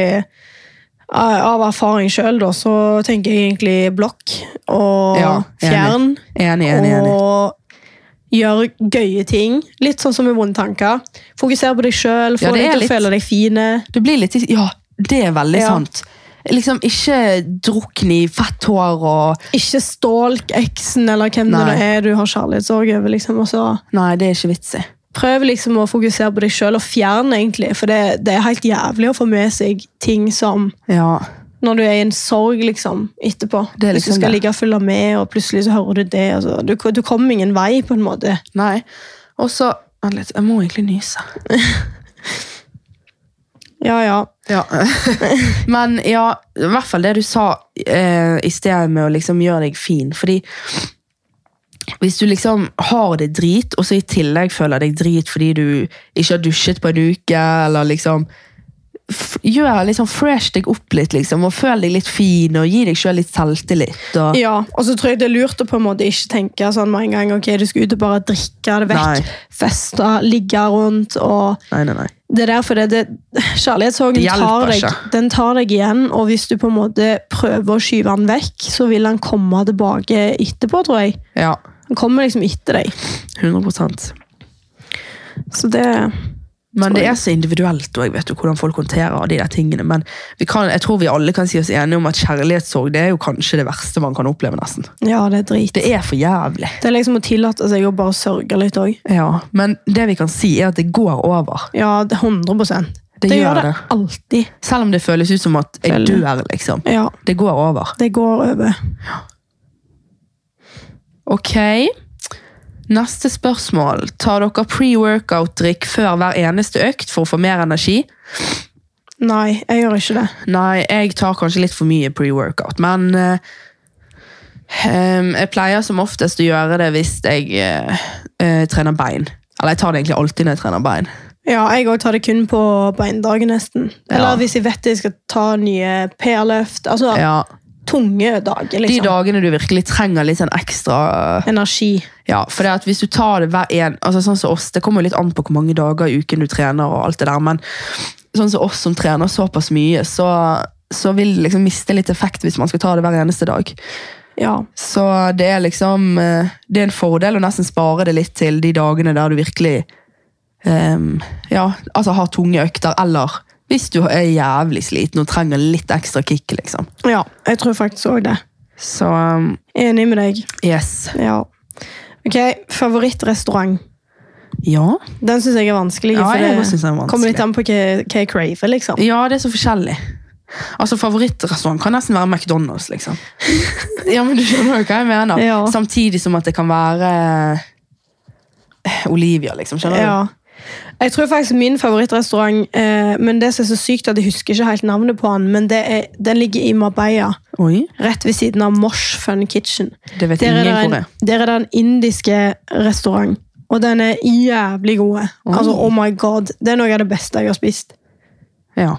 Speaker 1: Av av erfaring sjøl, da, så tenker jeg egentlig blokk og
Speaker 2: Ja, enig.
Speaker 1: fjern.
Speaker 2: Enig, enig, enig.
Speaker 1: Og gjør gøye ting. Litt sånn som med vonde tanker. Fokuser på deg sjøl, få
Speaker 2: Ja, det
Speaker 1: deg
Speaker 2: er
Speaker 1: til å
Speaker 2: litt-
Speaker 1: føle deg fine.
Speaker 2: Du blir litt Ja, det er veldig
Speaker 1: Ja.
Speaker 2: sant. Liksom ikke drukne i fett hår og
Speaker 1: Ikke stalk eksen eller hvem det
Speaker 2: Nei.
Speaker 1: nå er du har kjærlighetssorg over. liksom, og så
Speaker 2: Nei, det er ikke vits i.
Speaker 1: Prøv liksom å fokusere på deg sjøl, og fjern, egentlig. For det, det er helt jævlig å få med seg ting som
Speaker 2: Ja.
Speaker 1: når du er i en sorg liksom, etterpå.
Speaker 2: Det er
Speaker 1: Hvis du
Speaker 2: liksom
Speaker 1: skal
Speaker 2: det.
Speaker 1: ligge og følge med, og plutselig så hører du det. Altså. Du, du kommer ingen vei, på en måte.
Speaker 2: Nei. Og så Vent litt, jeg må egentlig nyse.
Speaker 1: Ja, ja.
Speaker 2: Ja. Men ja, i hvert fall det du sa eh, i sted med å liksom gjøre deg fin. Fordi hvis du liksom har det drit, og så i tillegg føler deg drit fordi du ikke har dusjet på en uke, eller liksom f Gjør liksom fresh deg opp litt, liksom, og føl deg litt fin, og gi deg sjøl litt selvtillit. Og,
Speaker 1: ja. Og så tror jeg det er lurt å på en måte ikke tenke sånn med en gang ok, du skal ut og bare drikke det
Speaker 2: Nei.
Speaker 1: vekk, feste, ligge rundt og
Speaker 2: nei, nei, nei.
Speaker 1: Det er derfor det, det Kjærlighetssorgen
Speaker 2: Det hjelper
Speaker 1: tar deg,
Speaker 2: ikke.
Speaker 1: den tar deg igjen, og hvis du på en måte prøver å skyve den vekk, så vil han komme tilbake etterpå, tror jeg.
Speaker 2: Ja,
Speaker 1: Han kommer liksom etter deg.
Speaker 2: 100
Speaker 1: Så det
Speaker 2: Men
Speaker 1: Tror
Speaker 2: det
Speaker 1: jeg.
Speaker 2: er så individuelt og jeg vet jo hvordan folk håndterer de der tingene. Men vi kan, jeg tror vi alle kan si oss enige om at kjærlighetssorg det er jo kanskje det verste man kan oppleve. nesten.
Speaker 1: Ja, det er drit.
Speaker 2: Det er for jævlig.
Speaker 1: Det er liksom å tillate seg å bare sørge litt òg.
Speaker 2: Ja, Men det vi kan si, er at det går over.
Speaker 1: Ja, det er 100
Speaker 2: Det gjør
Speaker 1: det
Speaker 2: det.
Speaker 1: alltid.
Speaker 2: Selv om det føles ut som at jeg
Speaker 1: Føler.
Speaker 2: dør, liksom.
Speaker 1: Ja,
Speaker 2: Det går over.
Speaker 1: det går over.
Speaker 2: Ok. Neste spørsmål. Tar dere pre-workout-drikk før hver eneste økt for å få mer energi?
Speaker 1: Nei, jeg gjør ikke det.
Speaker 2: Nei, jeg tar kanskje litt for mye pre-workout, men eh, em, jeg pleier som oftest å gjøre det hvis jeg eh, eh, trener bein. Eller jeg tar det egentlig alltid når jeg trener bein.
Speaker 1: Ja, jeg òg tar det kun på beindagen, nesten. Eller
Speaker 2: Ja.
Speaker 1: hvis jeg vet jeg skal ta nye PR-løft. Altså
Speaker 2: Ja,
Speaker 1: tunge dager,
Speaker 2: de
Speaker 1: liksom.
Speaker 2: dagene du virkelig trenger litt sånn ekstra
Speaker 1: Energi.
Speaker 2: Ja, for det at hvis du tar det hver en altså Sånn som oss, det kommer jo litt an på hvor mange dager i uken du trener og alt det der, men sånn som oss som trener såpass mye, så, så vil det liksom miste litt effekt hvis man skal ta det hver eneste dag.
Speaker 1: Ja.
Speaker 2: Så det er liksom eh, Det er en fordel å nesten spare det litt til de dagene der du virkelig ehm, Ja, altså har tunge økter, eller hvis du er jævlig sliten og trenger litt ekstra kick, liksom.
Speaker 1: Ja, jeg tror faktisk òg det.
Speaker 2: Så ehm,
Speaker 1: Enig med deg.
Speaker 2: yes.
Speaker 1: Ja. Ok, Favorittrestaurant.
Speaker 2: Ja.
Speaker 1: Den syns jeg er vanskelig.
Speaker 2: Ja,
Speaker 1: for
Speaker 2: jeg
Speaker 1: det
Speaker 2: også synes den er vanskelig.
Speaker 1: Kommer litt an på hva, hva jeg craver, liksom.
Speaker 2: ja, det er så forskjellig. Altså Favorittrestaurant kan nesten være McDonald's, liksom. ja, men Du skjønner jo hva jeg mener.
Speaker 1: Ja.
Speaker 2: Samtidig som at det kan være eh, Olivia, liksom. Skjønner du?
Speaker 1: Ja. Jeg tror faktisk min favorittrestaurant eh, Men det som er så sykt at jeg husker ikke helt navnet på den, men det er, den ligger i Marbella.
Speaker 2: Oi,
Speaker 1: Rett ved siden av Mosh Fun Kitchen.
Speaker 2: det vet
Speaker 1: Der er,
Speaker 2: ingen
Speaker 1: det
Speaker 2: hvor
Speaker 1: en,
Speaker 2: det er.
Speaker 1: der er det en indiske restaurant, og den er jævlig god.
Speaker 2: Oi.
Speaker 1: Altså, oh my god. Det er noe av det beste jeg har spist.
Speaker 2: Ja.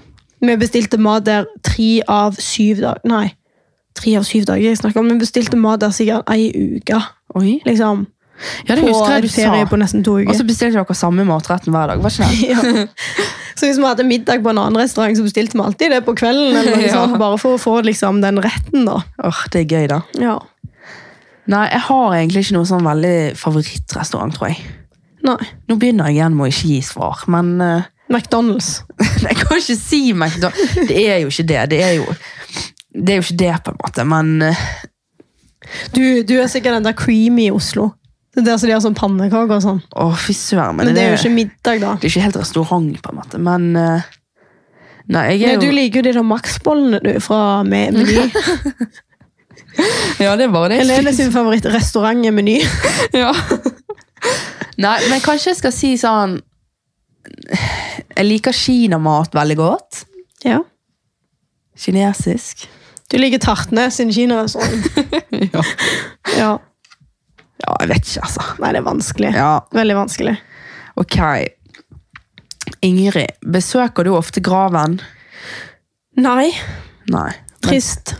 Speaker 1: Vi bestilte mat der tre av syv dager Nei, tre av syv dager jeg snakker om. Vi bestilte mat der sikkert ei uke.
Speaker 2: Oi.
Speaker 1: Liksom,
Speaker 2: Ja, det
Speaker 1: på
Speaker 2: husker jeg
Speaker 1: en
Speaker 2: du sa.
Speaker 1: ferie på nesten to
Speaker 2: Og
Speaker 1: uker.
Speaker 2: så bestilte dere samme matretten hver dag. var ikke det?
Speaker 1: Ja. Så hvis vi hadde middag på en annen restaurant, så bestilte vi alltid det på kvelden. Eller noe
Speaker 2: Ja.
Speaker 1: sånt, bare for å få liksom, den retten, da.
Speaker 2: Åh, Det er gøy, da.
Speaker 1: Ja.
Speaker 2: Nei, Jeg har egentlig ikke noen sånn veldig favorittrestaurant, tror jeg.
Speaker 1: Nei.
Speaker 2: Nå begynner jeg igjen med å ikke gi svar, men eh,
Speaker 1: McDonald's.
Speaker 2: Jeg kan ikke si McDonald's. Det er jo ikke det. Det er jo, det, er jo ikke det på en måte, men eh,
Speaker 1: Du, du er sikkert den der creamy i Oslo. Det er der som de har sånn pannekaker og sånn.
Speaker 2: Å, fy søren. Men,
Speaker 1: Men det er jo
Speaker 2: ikke
Speaker 1: ikke middag, da.
Speaker 2: det er ikke helt restaurant, på en måte. Men eh, Nei, jeg
Speaker 1: Nei,
Speaker 2: er
Speaker 1: du
Speaker 2: jo
Speaker 1: liker jo de der Max-bollene du, fra Me- Meny.
Speaker 2: Ja, det er bare det.
Speaker 1: Helene sin favorittrestaurant er Meny.
Speaker 2: Ja. Nei, men kanskje jeg skal si sånn Jeg liker kinamat veldig godt.
Speaker 1: Ja.
Speaker 2: Kinesisk.
Speaker 1: Du liker tartene sin kinarestaurant.
Speaker 2: Ja.
Speaker 1: Ja.
Speaker 2: jeg vet ikke, altså.
Speaker 1: Nei, det er vanskelig.
Speaker 2: Ja,
Speaker 1: Veldig vanskelig.
Speaker 2: ok. Ingrid, besøker du ofte graven?
Speaker 1: Nei,
Speaker 2: Nei. Men,
Speaker 1: trist.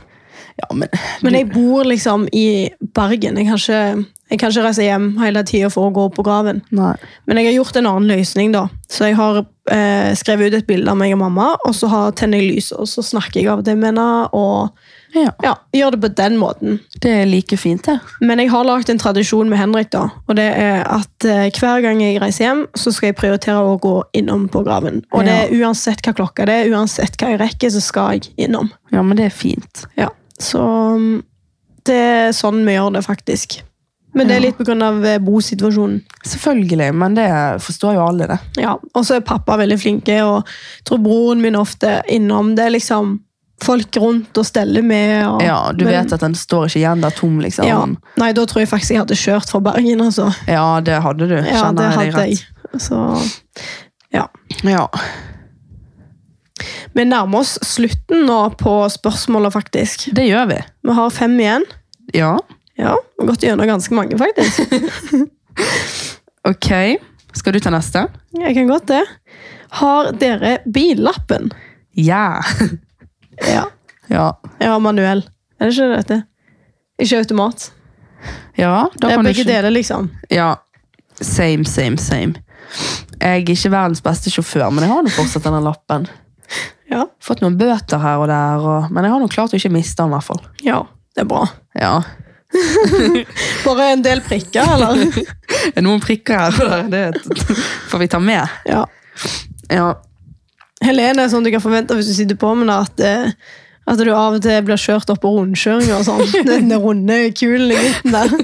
Speaker 2: ja, men,
Speaker 1: Men jeg bor liksom i Bergen. Jeg kan ikke, jeg kan ikke reise hjem hele tida for å gå på graven.
Speaker 2: Nei.
Speaker 1: Men jeg har gjort en annen løsning, da. Så jeg har eh, skrevet ut et bilde av meg og mamma, og så har tenner jeg lys, og så snakker jeg av det med henne, og
Speaker 2: Ja,
Speaker 1: ja, gjør det på den måten.
Speaker 2: det er like fint, det.
Speaker 1: Men jeg har lagt en tradisjon med Henrik, da. Og det er at eh, hver gang jeg reiser hjem, så skal jeg prioritere å gå innom på graven. Og det er uansett hva klokka det er, uansett hva jeg rekker, så skal jeg innom.
Speaker 2: Ja, men det er fint.
Speaker 1: Ja. Så mm, det er sånn vi gjør det, faktisk. Men det er
Speaker 2: Ja.
Speaker 1: litt pga. eh, bosituasjonen.
Speaker 2: Selvfølgelig, men det forstår jo alle, det.
Speaker 1: Ja. Og så er pappa veldig flinke, og jeg tror broren min ofte er innom. Det er liksom folk rundt og steller med. Og,
Speaker 2: Ja, Du vet at den står ikke igjen der tom, liksom.
Speaker 1: ja. Nei, da tror jeg faktisk jeg hadde kjørt fra Bergen, altså.
Speaker 2: Ja, det hadde du.
Speaker 1: Ja,
Speaker 2: Kjenner
Speaker 1: det
Speaker 2: jeg deg
Speaker 1: hadde
Speaker 2: rett.
Speaker 1: jeg. Så ja.
Speaker 2: Ja.
Speaker 1: Vi nærmer oss slutten nå på spørsmålet, faktisk.
Speaker 2: Det gjør vi.
Speaker 1: Vi har fem igjen.
Speaker 2: Ja.
Speaker 1: Ja, Vi har gått gjennom ganske mange, faktisk.
Speaker 2: Ok. Skal du ta neste?
Speaker 1: Jeg kan godt det. Har dere billappen?
Speaker 2: Ja.
Speaker 1: Ja.
Speaker 2: Ja.
Speaker 1: Jeg har manuell. Er det ikke det dette? Ikke automat.
Speaker 2: Ja, da
Speaker 1: Det
Speaker 2: kan
Speaker 1: er
Speaker 2: du
Speaker 1: begge
Speaker 2: ikke-
Speaker 1: deler, liksom.
Speaker 2: Ja. Same, same, same. Jeg er ikke verdens beste sjåfør, men jeg har nå fortsatt denne lappen.
Speaker 1: Ja.
Speaker 2: Fått noen bøter her og der, og, men jeg har nå klart å ikke miste den, i hvert fall.
Speaker 1: ja, det er bra.
Speaker 2: Ja.
Speaker 1: Bare en del prikker, eller?
Speaker 2: Er det noen prikker her og der? Det får vi ta med.
Speaker 1: ja.
Speaker 2: Ja.
Speaker 1: Helene er sånn du kan forvente hvis du sitter på med det, at, eh, at du av og til blir kjørt opp på rundkjøringer og sånn. Den runde kulen i midten der.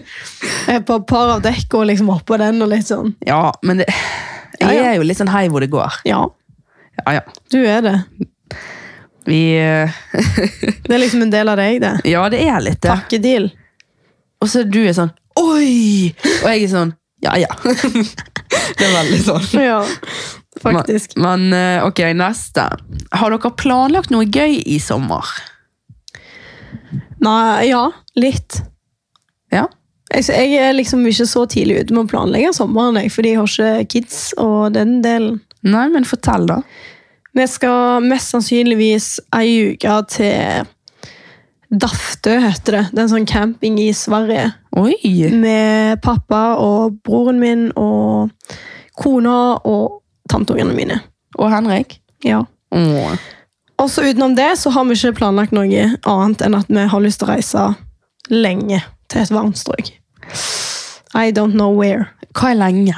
Speaker 1: Eh, På et par av dekk og liksom oppå den og litt sånn.
Speaker 2: ja, men det,
Speaker 1: Ja,
Speaker 2: jeg
Speaker 1: ja.
Speaker 2: er jo litt sånn hei hvor det går.
Speaker 1: Ja,
Speaker 2: Ja, ja.
Speaker 1: du er det.
Speaker 2: Vi, eh,
Speaker 1: Det er liksom en del av deg, det.
Speaker 2: ja, det er litt det.
Speaker 1: Pakkedeal.
Speaker 2: Og så du er sånn, oi! Og jeg er sånn, ja, ja. Det er veldig sånn.
Speaker 1: Ja, faktisk.
Speaker 2: Men, men, eh, ok, neste. Har dere planlagt noe gøy i sommer?
Speaker 1: Nei, ja, litt.
Speaker 2: Ja.
Speaker 1: Jeg, jeg er liksom ikke så tidlig ute med å planlegge sommeren, jeg, fordi jeg har ikke kids og den delen.
Speaker 2: Nei, men fortell da.
Speaker 1: Vi skal mest sannsynligvis ei uke til Daftø, heter det. Det er en sånn camping i Sverige.
Speaker 2: Oi!
Speaker 1: Med pappa og broren min og kona og tanteungene mine.
Speaker 2: Og Henrik?
Speaker 1: Ja.
Speaker 2: Åh.
Speaker 1: Også utenom det så har vi ikke planlagt noe annet enn at vi har lyst til å reise lenge til et varmt strøk. I don't know where.
Speaker 2: Hva er lenge?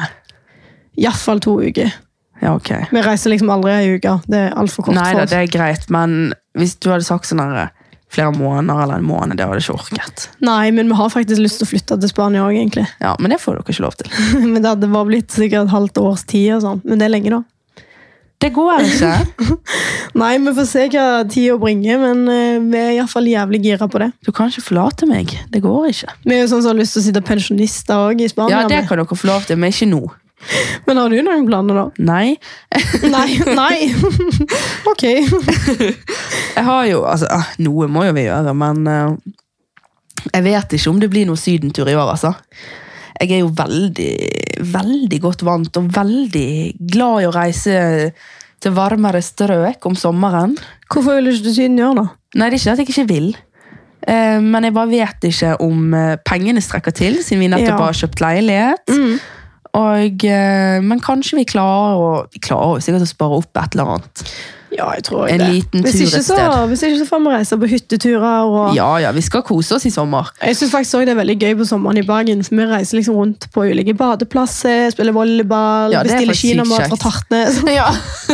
Speaker 1: Iallfall to uker.
Speaker 2: Ja, ok.
Speaker 1: Vi reiser liksom aldri ei uke. Det er altfor kort
Speaker 2: Nei,
Speaker 1: for
Speaker 2: da,
Speaker 1: oss.
Speaker 2: det er greit, men hvis du hadde sagt sånn her flere måneder eller en måned, det hadde jeg ikke orket.
Speaker 1: Nei, men vi har faktisk lyst til å flytte til Spania òg, egentlig.
Speaker 2: Ja, men det får dere ikke lov til.
Speaker 1: Men det hadde bare blitt sikkert et halvt års tid og sånn. Men det er lenge, da.
Speaker 2: Det går ikke.
Speaker 1: Nei, vi får se hva tida bringer, men eh, vi er iallfall jævlig gira på det.
Speaker 2: Du kan ikke forlate meg. Det går ikke.
Speaker 1: Vi er jo sånn som har lyst til å sitte pensjonister òg i Spania.
Speaker 2: Ja, det
Speaker 1: men-
Speaker 2: kan dere få lov til, men ikke nå.
Speaker 1: Men har du noen planer, da?
Speaker 2: Nei.
Speaker 1: Nei. nei. ok.
Speaker 2: Jeg har jo, altså, ah, noe må jo vi gjøre, men eh, jeg vet ikke om det blir noen sydentur i år, altså. Jeg er jo veldig, veldig godt vant og veldig glad i å reise til varmere strøk om sommeren.
Speaker 1: Hvorfor vil du ikke til Syden i år, da?
Speaker 2: Nei, det er ikke at jeg ikke vil. Eh, Men jeg bare vet ikke om eh, pengene strekker til, siden vi nettopp
Speaker 1: Ja.
Speaker 2: har kjøpt leilighet. Og, eh, men kanskje vi klarer å, vi klarer jo sikkert å spare opp et eller annet.
Speaker 1: Ja, jeg tror
Speaker 2: En liten
Speaker 1: hvis
Speaker 2: tur
Speaker 1: ikke,
Speaker 2: et
Speaker 1: så,
Speaker 2: sted.
Speaker 1: hvis ikke så får vi reise på hytteturer og
Speaker 2: Ja, ja, vi skal kose oss i sommer.
Speaker 1: Jeg syns faktisk også det er veldig gøy på sommeren i Bergen. For vi reiser liksom rundt på ulike badeplasser, spiller volleyball,
Speaker 2: Ja, det er
Speaker 1: bestiller
Speaker 2: faktisk sykt
Speaker 1: kinamat fra
Speaker 2: kjekt.
Speaker 1: Tartnes.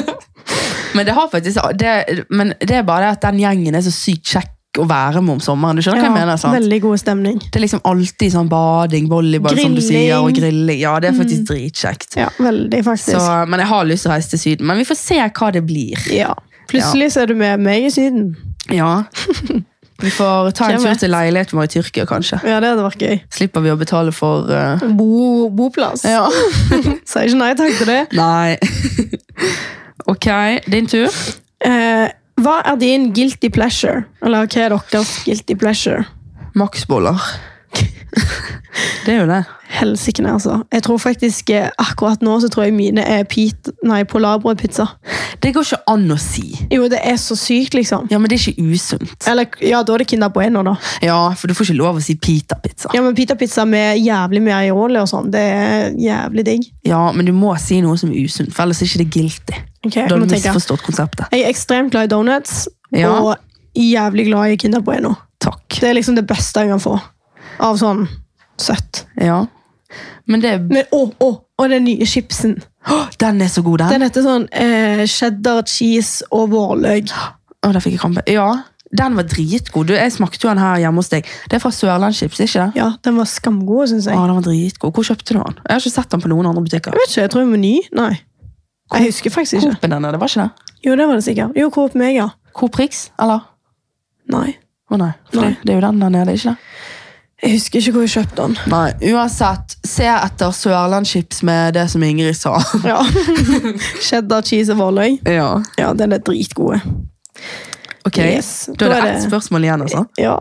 Speaker 2: Men det, har faktisk, det, men det er bare det at den gjengen er så sykt kjekk å være med om sommeren. Du skjønner hva jeg
Speaker 1: Ja,
Speaker 2: mener, sant?
Speaker 1: Veldig god stemning.
Speaker 2: Det er liksom alltid sånn bading, volleyball, som du sier, og
Speaker 1: Grilling.
Speaker 2: grilling. Ja, det er faktisk dritkjekt.
Speaker 1: Ja, veldig, faktisk.
Speaker 2: Så, men jeg har lyst til å reise til syden, men vi får se hva det blir.
Speaker 1: Ja. Plutselig så er du med meg i Syden.
Speaker 2: Ja. Vi får ta en
Speaker 1: Hvem
Speaker 2: tur
Speaker 1: vet?
Speaker 2: til leiligheten vår i Tyrkia, kanskje.
Speaker 1: Ja, det hadde vært gøy.
Speaker 2: Slipper vi å betale for eh,
Speaker 1: Bo, boplass.
Speaker 2: Ja.
Speaker 1: Sier ikke nei takk til det.
Speaker 2: Nei. ok, din tur.
Speaker 1: Eh, hva er din guilty pleasure? Eller hva er deres guilty pleasure?
Speaker 2: Maksboller. det er jo det.
Speaker 1: Helsike, nei, altså. Jeg tror faktisk eh, akkurat nå så tror jeg mine er pit, nei, polarbrødpizza.
Speaker 2: Det går ikke an å si.
Speaker 1: Jo, det er så sykt, liksom.
Speaker 2: Ja, men det er ikke usunt.
Speaker 1: Eller, ja, da er det Kinder Bueno, da.
Speaker 2: Ja, for du får ikke lov å si pita-pizza.
Speaker 1: Ja, men pita-pizza med jævlig mye aioli og sånn, det er jævlig digg.
Speaker 2: Ja, men du må si noe som er usunt, for ellers er ikke det guilty.
Speaker 1: Ok,
Speaker 2: Da
Speaker 1: jeg
Speaker 2: har
Speaker 1: må
Speaker 2: du
Speaker 1: tenke.
Speaker 2: misforstått konseptet.
Speaker 1: Jeg er ekstremt glad i donuts,
Speaker 2: Ja.
Speaker 1: og jævlig glad i Kinder Bueno.
Speaker 2: Takk.
Speaker 1: Det er liksom det beste jeg kan få av sånn søtt.
Speaker 2: Ja. Men det
Speaker 1: Men å, å, og den nye chipsen.
Speaker 2: Åh, Den er så god, den!
Speaker 1: Den heter sånn eh, cheddar cheese og vårløk.
Speaker 2: Å, der fikk jeg krampe. Ja, den var dritgod. Du, jeg smakte jo den her hjemme hos deg. Det er fra Sørlandschips, ikke det?
Speaker 1: Ja, den var skamgod, syns jeg.
Speaker 2: Å, den var dritgod. Hvor kjøpte du den? Jeg har ikke sett den på noen andre butikker.
Speaker 1: Jeg vet ikke, jeg tror jeg var ny. Nei. Jeg husker faktisk ikke.
Speaker 2: Coop-en den, er det var ikke det?
Speaker 1: Jo, det var det sikkert. Jo, Coop Mega.
Speaker 2: Coop Rix, eller?
Speaker 1: Nei.
Speaker 2: Å nei, for
Speaker 1: Nei.
Speaker 2: Det, det er jo den der nede, ikke det?
Speaker 1: Jeg husker ikke hvor jeg kjøpte den.
Speaker 2: Nei, uansett, se etter Sørlandschips med det som Ingrid sa.
Speaker 1: Ja. Cheddar cheese og vårløg.
Speaker 2: Ja.
Speaker 1: Ja, den er dritgode.
Speaker 2: Ok,
Speaker 1: Yes.
Speaker 2: Da er
Speaker 1: Da er
Speaker 2: det ett
Speaker 1: det-
Speaker 2: spørsmål igjen, altså.
Speaker 1: Ja.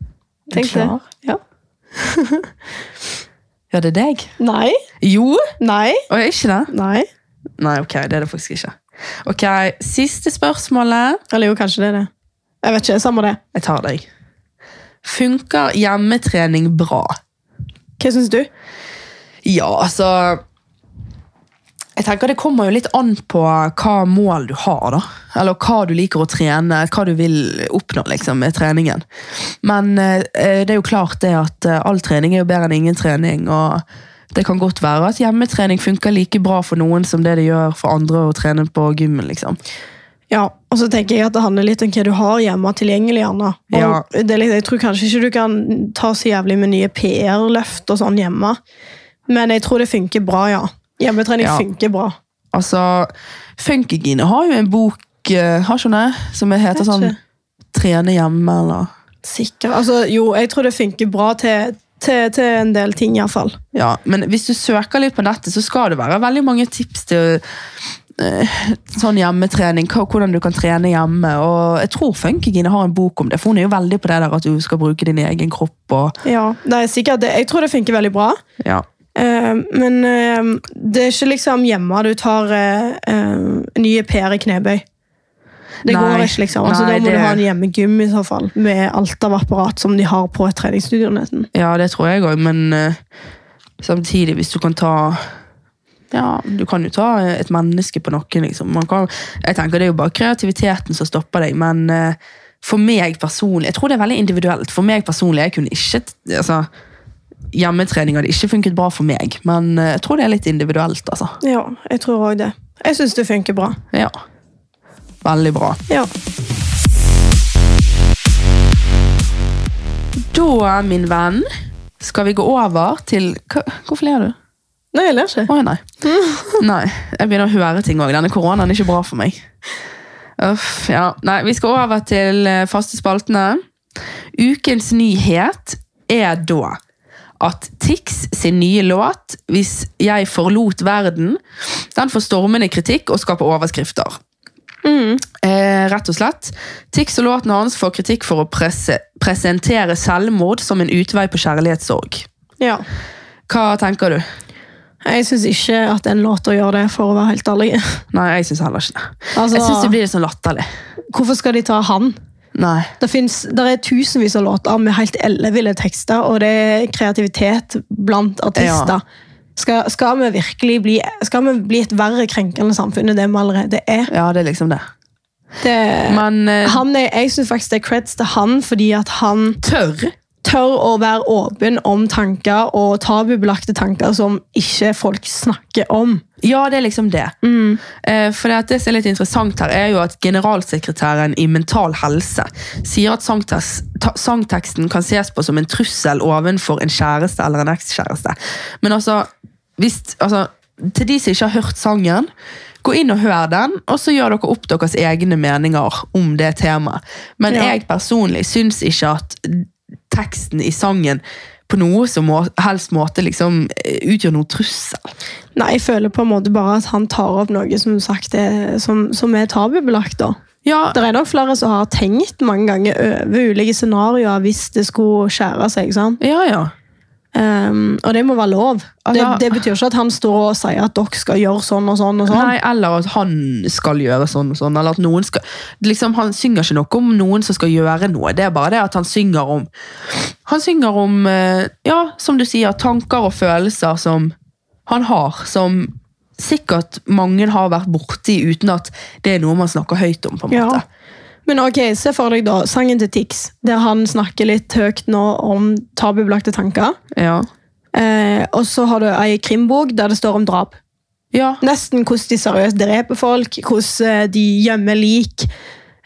Speaker 2: Er du
Speaker 1: Tenk det.
Speaker 2: klar?
Speaker 1: Ja.
Speaker 2: Ja, det er deg.
Speaker 1: Nei.
Speaker 2: Jo!
Speaker 1: Nei.
Speaker 2: Og jeg er ikke det?
Speaker 1: Nei.
Speaker 2: Nei, ok, det er det faktisk ikke. Ok, Siste spørsmålet.
Speaker 1: Eller jo, kanskje det er det. Jeg vet ikke. Samme det.
Speaker 2: Jeg tar deg. Funker hjemmetrening bra?
Speaker 1: Hva syns du?
Speaker 2: Ja, altså Jeg tenker Det kommer jo litt an på hva mål du har. da. Eller hva du liker å trene, hva du vil oppnå liksom, med treningen. Men eh, det er jo klart det at eh, all trening er jo bedre enn ingen trening. og det kan godt være at hjemmetrening funker like bra for noen som det det gjør for andre å trene på gymmen. liksom.
Speaker 1: Ja, og så tenker jeg at det handler litt om hva du har hjemme tilgjengelig. Anna. Og
Speaker 2: Ja.
Speaker 1: det er litt, jeg tror kanskje ikke du kan ta så jævlig med nye PR-løft og sånn hjemme, men jeg tror det funker bra, ja. Hjemmetrening
Speaker 2: Ja.
Speaker 1: funker bra.
Speaker 2: Altså, Funkygine har jo en bok eh, har ikke hun det? som heter
Speaker 1: Vet
Speaker 2: sånn
Speaker 1: ikke.
Speaker 2: 'Trene hjemme', eller
Speaker 1: Sikkert. Altså, jo, jeg tror det funker bra til, til, til en del ting, iallfall.
Speaker 2: Ja, men hvis du søker litt på nettet, så skal det være veldig mange tips til eh, sånn hjemmetrening, hva- hvordan du kan trene hjemme. Og jeg tror Funkygine har en bok om det, for hun er jo veldig på det der at du skal bruke din egen kropp. Og,
Speaker 1: Ja, det er sikkert det. Jeg tror det funker veldig bra.
Speaker 2: ja.
Speaker 1: Eh, men eh, det er ikke liksom hjemme du tar eh, eh, nye PR i knebøy. Det
Speaker 2: Nei.
Speaker 1: går ikke, liksom. Altså,
Speaker 2: Nei,
Speaker 1: da må
Speaker 2: det-
Speaker 1: du ha en hjemmegym i så fall, med alt av apparat som de har på et treningsstudio. nesten.
Speaker 2: ja, det tror jeg òg, men eh, samtidig, hvis du kan ta ja, Du kan jo ta eh, et menneske på noen. Liksom. Man kan, jeg tenker Det er jo bare kreativiteten som stopper deg. Men eh, for meg personlig Jeg tror det er veldig individuelt. For meg personlig, jeg kunne ikke t- altså, Hjemmetrening hadde ikke funket bra for meg, men eh, jeg tror det er litt individuelt. altså.
Speaker 1: Ja, jeg tror òg det. Jeg syns det funker bra.
Speaker 2: Ja. Veldig bra.
Speaker 1: Ja.
Speaker 2: Da, min venn, skal vi gå over til hva, Hvorfor ler du?
Speaker 1: Nei, jeg ler ikke.
Speaker 2: Å nei. nei. Jeg begynner å høre ting òg. Denne koronaen er ikke bra for meg. Uff, ja. Nei, vi skal over til eh, faste spaltene. Ukens nyhet er da at Tix sin nye låt 'Hvis jeg forlot verden' den får stormende kritikk og skaper overskrifter. Eh, rett og slett. Tix og låten hans får kritikk for å presse, presentere selvmord som en utvei på kjærlighetssorg.
Speaker 1: Ja.
Speaker 2: Hva tenker du?
Speaker 1: Jeg syns ikke at en låt å gjøre det, for å være helt ærlig.
Speaker 2: Nei, jeg syns heller ikke det.
Speaker 1: Altså-
Speaker 2: jeg syns det blir litt sånn latterlig.
Speaker 1: Hvorfor skal de ta han?
Speaker 2: Nei.
Speaker 1: Det, finnes, det er tusenvis av låter med helt elleville tekster, og det er kreativitet blant artister. Skal, skal vi virkelig bli, skal vi bli et verre krenkende samfunn enn det vi allerede er?
Speaker 2: Ja, det er liksom det.
Speaker 1: Det,
Speaker 2: Men eh,
Speaker 1: han er jeg syns faktisk det er creds til han, fordi at han
Speaker 2: tørr?
Speaker 1: tør å være åpen om tanker og tabubelagte tanker som ikke folk snakker om.
Speaker 2: Ja, det er liksom det. Eh, for det, at det som er litt interessant her, er jo at generalsekretæren i Mental Helse sier at sangtes- ta- sangteksten kan ses på som en trussel ovenfor en kjæreste eller en ekskjæreste. Men altså, hvis, altså, til de som ikke har hørt sangen, gå inn og hør den, og så gjør dere opp deres egne meninger om det temaet. Men
Speaker 1: Ja.
Speaker 2: jeg personlig syns ikke at teksten i sangen på noe som må, helst måte liksom eh, utgjør noen trussel.
Speaker 1: Nei, Jeg føler på en måte bare at han tar opp noe som, sagt er, som, som er tabubelagt. da.
Speaker 2: Ja,
Speaker 1: Det er nok flere som har tenkt mange ganger over ulike scenarioer hvis det skulle skjære seg. sant?
Speaker 2: ja, ja.
Speaker 1: Ehm, og det må være lov. Det,
Speaker 2: Ja.
Speaker 1: det betyr ikke at han står og sier at dere skal gjøre sånn og sånn. og sånn.
Speaker 2: Nei, eller at han skal gjøre sånn og sånn. Eller at noen skal, liksom, han synger ikke noe om noen som skal gjøre noe. Det er bare det at han synger om Han synger om, eh, ja, som du sier, tanker og følelser som han har. Som sikkert mange har vært borti uten at det er noe man snakker høyt om. på en
Speaker 1: Ja.
Speaker 2: måte.
Speaker 1: Men ok, se for deg da, sangen til Tix, der han snakker litt høyt nå om tabubelagte tanker.
Speaker 2: Ja.
Speaker 1: Eh, og så har du ei krimbok der det står om drap.
Speaker 2: ja.
Speaker 1: Nesten hvordan de seriøst dreper folk, hvordan eh, de gjemmer lik.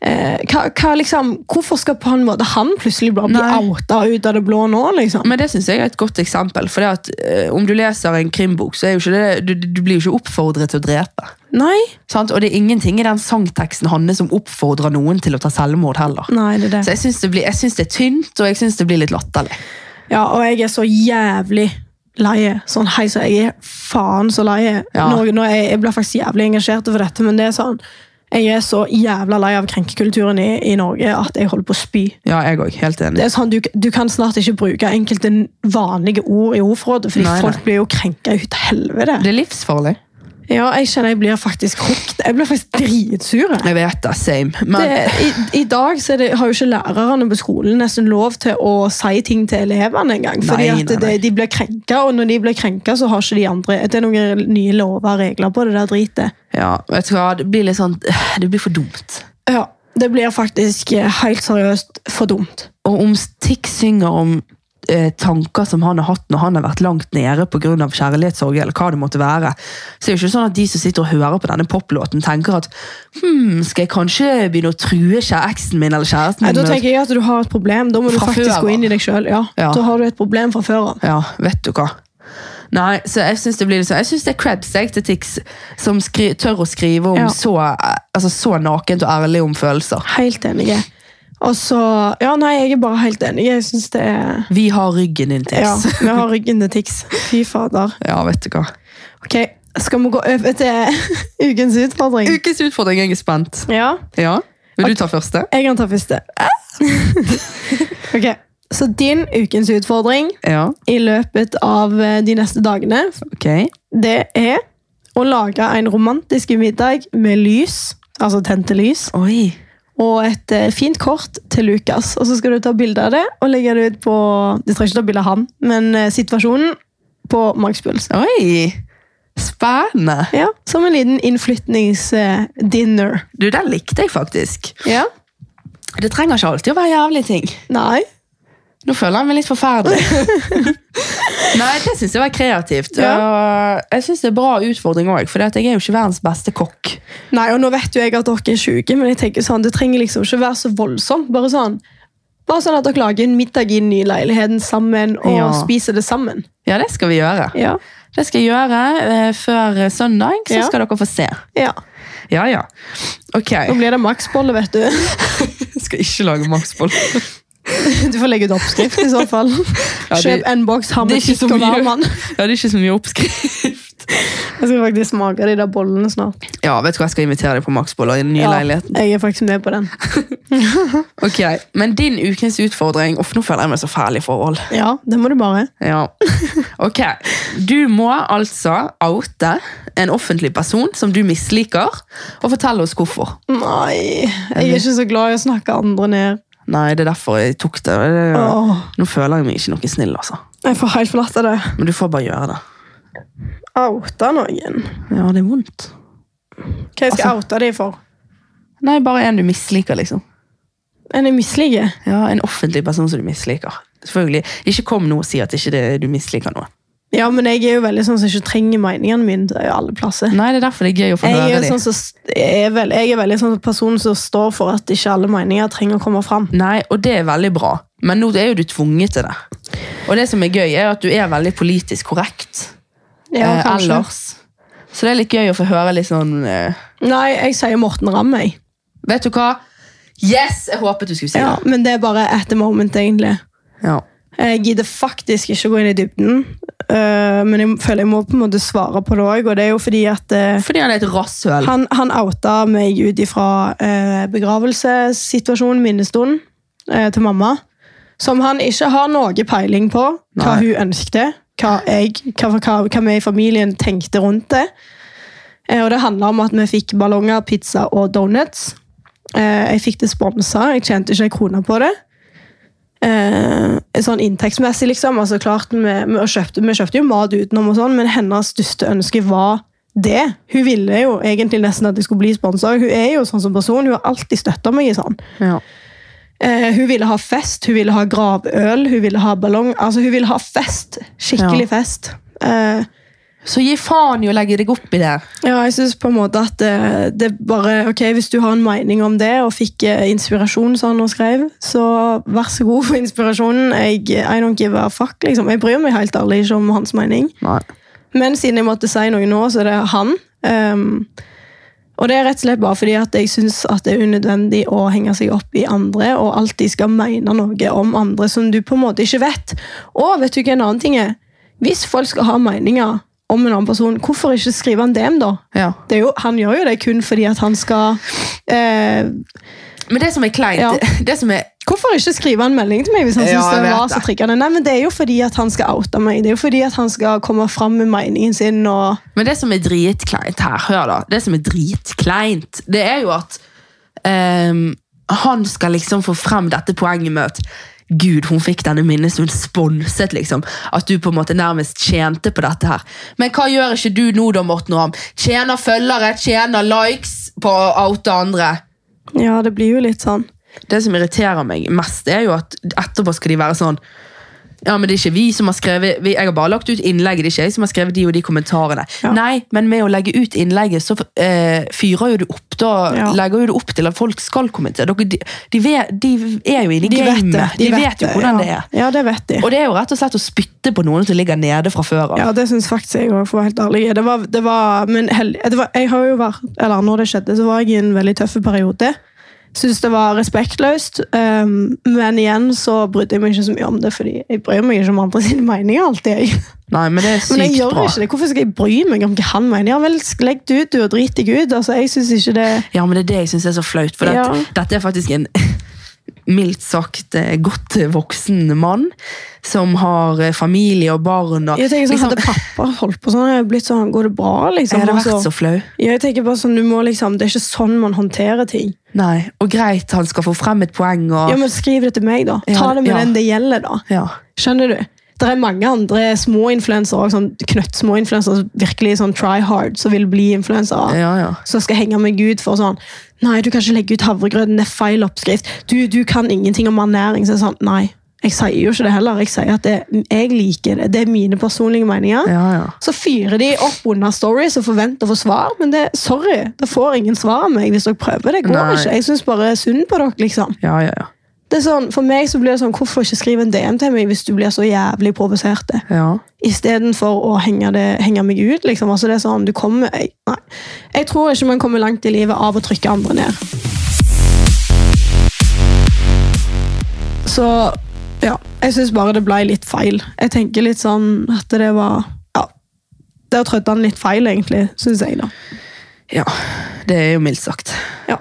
Speaker 1: Eh, hva, hva liksom, hvorfor skal på en måte han plutselig bare bli
Speaker 2: Nei.
Speaker 1: outa ut av det blå nå? liksom?
Speaker 2: Men det syns jeg er et godt eksempel. For det at, eh, om du leser en krimbok, så er jo ikke det, du, du blir jo ikke oppfordret til å drepe.
Speaker 1: Nei,
Speaker 2: Sant? Og det er ingenting i den sangteksten Hanne som oppfordrer noen til å ta selvmord heller.
Speaker 1: nei, det er det.
Speaker 2: Så jeg syns det, blir- jeg synes det er tynt, og jeg syns det blir litt latterlig.
Speaker 1: Ja, og jeg er så jævlig leie. Sånn, hei, så jeg er faen så leie.
Speaker 2: Ja.
Speaker 1: Nå, nå er jeg, jeg blir faktisk jævlig engasjert over dette, men det er sånn, jeg er så jævla lei av krenkekulturen i, i Norge at jeg holder på å spy.
Speaker 2: Ja, jeg òg. Helt
Speaker 1: Det
Speaker 2: enig.
Speaker 1: er sånn, du, du kan snart ikke bruke enkelte n- vanlige ord i ordforrådet, fordi
Speaker 2: Nei, nei.
Speaker 1: folk blir jo krenka ut av helvete.
Speaker 2: Det er livsfarlig.
Speaker 1: Ja, jeg kjenner jeg blir faktisk hooked. Jeg blir faktisk dritsure.
Speaker 2: Jeg vet det. Same. Men
Speaker 1: Det, i, I dag så er det, har jo ikke lærerne på skolen nesten lov til å si ting til elevene engang. Fordi
Speaker 2: Nei,
Speaker 1: at
Speaker 2: nei,
Speaker 1: Det,
Speaker 2: nei.
Speaker 1: de blir krenka, og når de blir krenka, så har ikke de andre Det er noen nye lover og regler på det der dritet.
Speaker 2: ja, vet du hva, det blir litt sånn Det blir for dumt.
Speaker 1: Ja, Det blir faktisk eh, helt seriøst for dumt.
Speaker 2: Og om Tix synger om eh, tanker som han har hatt når han har vært langt nede pga. kjærlighetssorg, eller hva det måtte være, så er det ikke sånn at de som sitter og hører på denne poplåten, tenker at hm, skal jeg kanskje begynne å true kjæ- eksen min eller kjæresten
Speaker 1: Nei,
Speaker 2: min?
Speaker 1: da
Speaker 2: med-
Speaker 1: tenker jeg at du har et problem. Da må du
Speaker 2: eh, Fra
Speaker 1: faktisk
Speaker 2: før av.
Speaker 1: gå inn i deg sjøl. Ja,
Speaker 2: Ja.
Speaker 1: Da har du et problem fra før av.
Speaker 2: Ja, vet du hva. Nei, så jeg syns det blir litt sånn, jeg synes det er creds jeg, til Tix, som skri, tør å skrive om
Speaker 1: Ja.
Speaker 2: så, eh, altså, så nakent og ærlig om følelser.
Speaker 1: Helt enig. Og så Ja, nei, jeg er bare helt enig. Jeg syns det er
Speaker 2: Vi har ryggen din, Tix.
Speaker 1: Ja, vi har ryggen til Tix. Fy fader.
Speaker 2: ja, vet du hva.
Speaker 1: Ok, skal vi gå over til ukens utfordring?
Speaker 2: Ukens utfordring, jeg er spent.
Speaker 1: Ja,
Speaker 2: Ja, Vil du ta første?
Speaker 1: jeg kan ta første. ok, så din ukens utfordring
Speaker 2: Ja,
Speaker 1: i løpet av eh, de neste dagene,
Speaker 2: ok.
Speaker 1: det er å lage en romantisk middag med lys, altså tente lys,
Speaker 2: Oi.
Speaker 1: og et eh, fint kort til Lukas. Og så skal du ta bilde av det og legge det ut på, du trenger ikke ta bilde av han, men eh, situasjonen på Magspuls.
Speaker 2: Oi! Spennende.
Speaker 1: Ja, som en liten innflytningsdinner.
Speaker 2: Du, den likte jeg faktisk.
Speaker 1: Ja.
Speaker 2: Det trenger ikke alltid å være jævlige ting.
Speaker 1: Nei.
Speaker 2: Nå føler jeg meg litt forferdelig. Nei, det syns jeg var kreativt. Og jeg syns det er bra utfordring òg, for jeg er jo ikke verdens beste kokk.
Speaker 1: Nei, og nå vet jo jeg at dere er syke, men jeg tenker sånn, det trenger liksom ikke være så voldsomt. Bare sånn, bare sånn at dere lager en middag i den nye leiligheten sammen, og
Speaker 2: Ja.
Speaker 1: spiser det sammen.
Speaker 2: Ja, det skal vi gjøre.
Speaker 1: Ja.
Speaker 2: Det skal jeg gjøre eh, før eh, søndag, så
Speaker 1: Ja.
Speaker 2: skal dere få se.
Speaker 1: ja.
Speaker 2: Ja, ja. Ok.
Speaker 1: Nå blir det maksbolle, vet du.
Speaker 2: Jeg skal ikke lage maksboll.
Speaker 1: Du får legge ut oppskrift i så fall.
Speaker 2: Ja, det-
Speaker 1: Kjøp en boks, ha
Speaker 2: det er
Speaker 1: med
Speaker 2: ikke så
Speaker 1: tikk og
Speaker 2: mye.
Speaker 1: varmann.
Speaker 2: Ja, det er ikke så mye oppskrift.
Speaker 1: Jeg skal faktisk smake de der bollene snart.
Speaker 2: Ja, vet du hva, jeg skal invitere deg på maksboller i den nye
Speaker 1: Ja,
Speaker 2: leiligheten.
Speaker 1: jeg er faktisk med på den.
Speaker 2: Ok, Men din ukens utfordring Uff, nå føler jeg meg så fæl i forhold.
Speaker 1: Ja, det må du bare.
Speaker 2: Ja. Ok, Du må altså oute en offentlig person som du misliker, og fortelle oss hvorfor.
Speaker 1: Nei, jeg er ikke så glad i å snakke andre ned.
Speaker 2: Nei, det er derfor jeg tok det. det
Speaker 1: Åh,
Speaker 2: Nå føler jeg meg ikke noe snill, altså.
Speaker 1: jeg får helt forlatt av det.
Speaker 2: Men du får bare gjøre det.
Speaker 1: Outa noen.
Speaker 2: Ja, det er vondt.
Speaker 1: Hva jeg skal
Speaker 2: Altså-
Speaker 1: oute de for?
Speaker 2: Nei, bare en du misliker, liksom.
Speaker 1: En jeg misliker.
Speaker 2: Ja, En offentlig person som du misliker. Selvfølgelig. Ikke kom nå og si at ikke det, du misliker noe.
Speaker 1: Ja, men jeg er jo veldig sånn som ikke trenger meningene mine til alle plasser.
Speaker 2: Nei, det er derfor det er gøy å få
Speaker 1: Jeg
Speaker 2: høre
Speaker 1: er,
Speaker 2: det.
Speaker 1: sånn som, jeg, er vel- jeg er veldig sånn person som står for at ikke alle meninger trenger å komme fram.
Speaker 2: Nei, og det er veldig bra. Men nå er jo du tvunget til det. Og det som er gøy, er at du er veldig politisk korrekt.
Speaker 1: Ja,
Speaker 2: eh,
Speaker 1: kanskje.
Speaker 2: ellers. Så det er litt gøy å få høre litt sånn eh,
Speaker 1: Nei, jeg sier Morten Ramm, jeg.
Speaker 2: Vet du hva? Yes! Jeg håpet du skulle si
Speaker 1: Ja, men det er bare at the moment, egentlig.
Speaker 2: det. Ja.
Speaker 1: Jeg gidder faktisk ikke å gå inn i dybden, øh, men jeg føler jeg må på en måte svare på det òg, og det er jo fordi at øh,
Speaker 2: Fordi han er et rasshøl.
Speaker 1: han, han outa meg ut ifra eh, begravelsessituasjonen, minnestunden, eh, til mamma. Som han ikke har noe peiling på hva
Speaker 2: Nei.
Speaker 1: hun ønskte, hva, jeg, hva, hva, hva vi i familien tenkte rundt det. Eh, og det handla om at vi fikk ballonger, pizza og donuts. Eh, jeg fikk det sponsa, jeg tjente ikke en krone på det. Eh, sånn inntektsmessig, liksom. Altså, klart, vi, vi, og kjøpte, vi kjøpte jo mat utenom, og sånn, men hennes største ønske var det. Hun ville jo egentlig nesten at jeg skulle bli sponsa. Hun er jo sånn som person, hun har alltid støtta meg i sånn.
Speaker 2: Ja.
Speaker 1: Eh, hun ville ha fest, hun ville ha gravøl, hun ville ha ballong. Altså, hun ville ha fest. Skikkelig fest. Eh,
Speaker 2: Så gi faen i å legge deg opp i det.
Speaker 1: ja, jeg synes på en måte at eh, det er bare Ok, hvis du har en mening om det, og fikk eh, inspirasjon, som han nå skrev, så vær så god for inspirasjonen. Jeg, I don't give a fuck, liksom. Jeg bryr meg helt ærlig ikke om hans mening.
Speaker 2: Nei.
Speaker 1: Men siden jeg måtte si noe nå, så er det han. Ehm, Og det er rett og slett bare fordi at jeg syns at det er unødvendig å henge seg opp i andre og alltid skal mene noe om andre som du på en måte ikke vet. Og vet du hva en annen ting er? Hvis folk skal ha meninger om en annen person, hvorfor ikke skrive en DM, da?
Speaker 2: Ja.
Speaker 1: Det er jo, han gjør jo det kun fordi at han skal eh,
Speaker 2: Men det som er kleint
Speaker 1: Ja.
Speaker 2: det som er,
Speaker 1: Hvorfor ikke skrive en melding til meg hvis han
Speaker 2: Ja,
Speaker 1: synes
Speaker 2: jeg
Speaker 1: det
Speaker 2: vet
Speaker 1: var så
Speaker 2: det.
Speaker 1: triggende? Nei, men Det er jo fordi at han skal oute meg. Det er jo fordi at han skal komme fram med meningen sin. og...
Speaker 2: Men det som er dritkleint her, hør da. Det som er dritkleint, det er jo at ehm, han skal liksom få frem dette poenget med at Gud, hun fikk denne minnestunden sponset, liksom. At du på en måte nærmest tjente på dette her. Men hva gjør ikke du nå, da, Morten Aam? Tjener følgere, tjener likes på å oute andre.
Speaker 1: Ja, det blir jo litt sånn.
Speaker 2: Det som irriterer meg mest, er jo at etterpå skal de være sånn ja, men det er ikke vi som har skrevet vi, Jeg har bare lagt ut innlegget, det er ikke jeg som har skrevet de og de kommentarene.
Speaker 1: Ja.
Speaker 2: Nei, men med å legge ut innlegget, så eh, fyrer jo du opp da,
Speaker 1: Ja.
Speaker 2: legger jo du opp til at folk skal kommentere. Dere, de, de, vet, de er jo inne i
Speaker 1: De vet
Speaker 2: gamet.
Speaker 1: det.
Speaker 2: De, vet jo
Speaker 1: ja.
Speaker 2: hvordan det er.
Speaker 1: Ja, det vet de.
Speaker 2: Og det er jo rett og slett å spytte på noen som ligger nede fra før av.
Speaker 1: Ja, det syns faktisk jeg òg, for å være helt ærlig. Det var, det var, men hell, det var, jeg har jo vært, eller når det skjedde, så var jeg i en veldig tøff periode. Syns det var respektløst, ehm, men igjen så brydde jeg meg ikke så mye om det, fordi jeg bryr meg ikke om andre sine meninger alltid. jeg.
Speaker 2: Nei, men det er sykt
Speaker 1: Men jeg gjør
Speaker 2: bra.
Speaker 1: jo ikke det. Hvorfor skal jeg bry meg om hva han mener? Ja vel, legg det ut, du, og drit deg ut. Altså, jeg syns ikke det
Speaker 2: Ja, men det er det jeg syns er så flaut. For
Speaker 1: Ja.
Speaker 2: dette, dette er faktisk en mildt sagt eh, godt voksen mann som har eh, familie og barn. Og,
Speaker 1: Jeg tenker sånn,
Speaker 2: liksom,
Speaker 1: Hadde pappa holdt på sånn, hadde jeg blitt sånn Går det bra, liksom?
Speaker 2: jeg hadde
Speaker 1: Altså,
Speaker 2: vært så flau.
Speaker 1: Ja, jeg tenker bare sånn, du må liksom, Det er ikke sånn man håndterer ting.
Speaker 2: Nei, Og greit, han skal få frem et poeng. Og,
Speaker 1: Ja, men Skriv det til meg, da.
Speaker 2: Ja,
Speaker 1: Ta det med
Speaker 2: ja.
Speaker 1: den det gjelder. da.
Speaker 2: ja.
Speaker 1: Skjønner du? Det er mange andre små influensere, sånn knøttsmå influensere, virkelig sånn try hard, som vil bli influensere.
Speaker 2: Ja, ja.
Speaker 1: Som skal henge med Gud for sånn Nei, du kan ikke legge ut havregrøten, det er feil oppskrift. Du, du kan ingenting om ernæring. Så er det sånn, nei, jeg sier jo ikke det heller. Jeg sier at det, jeg liker det. Det er mine personlige meninger.
Speaker 2: Ja, ja.
Speaker 1: Så fyrer de opp under stories og forventer å få svar, men det, sorry, det får ingen svar av meg hvis dere prøver. Det går
Speaker 2: Nei.
Speaker 1: ikke. Jeg syns bare synd på dere, liksom.
Speaker 2: Ja, ja, ja.
Speaker 1: Det er sånn, For meg så blir det sånn, hvorfor ikke skrive en DM til meg hvis du blir så jævlig provosert? det?
Speaker 2: ja.
Speaker 1: Istedenfor å henge, det, henge meg ut, liksom. Altså det er sånn, du kommer, jeg, nei. jeg tror ikke man kommer langt i livet av å trykke andre ned. Så ja, jeg syns bare det ble litt feil. Jeg tenker litt sånn at det var Ja. Der trødde han litt feil, egentlig, syns jeg, da.
Speaker 2: ja. Det er jo mildt sagt.
Speaker 1: Ja.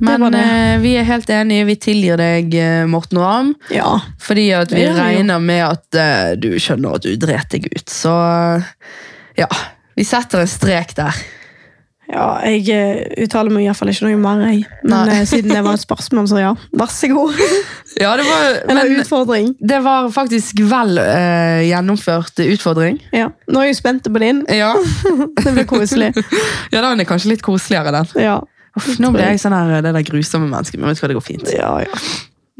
Speaker 2: Men
Speaker 1: var det.
Speaker 2: eh, vi er helt enige. Vi tilgir deg, eh, Morten og Am.
Speaker 1: ja.
Speaker 2: Fordi at vi
Speaker 1: Ja, ja.
Speaker 2: regner med at eh, du skjønner at du dret deg ut. Så ja, vi setter en strek der.
Speaker 1: Ja, jeg eh, uttaler meg iallfall ikke noe mer, jeg. Men
Speaker 2: Nei.
Speaker 1: eh, siden det var et spørsmål, så ja. Vær så god.
Speaker 2: Ja, det var,
Speaker 1: Eller
Speaker 2: men,
Speaker 1: utfordring.
Speaker 2: det var faktisk vel eh, gjennomført utfordring.
Speaker 1: Ja. Nå er jeg spent på din.
Speaker 2: Ja.
Speaker 1: Det blir koselig.
Speaker 2: ja, den er kanskje litt koseligere, den.
Speaker 1: Ja.
Speaker 2: Uff, nå ble jeg sånn her, det der grusomme mennesket, men vet du hva, det går fint.
Speaker 1: ja, ja.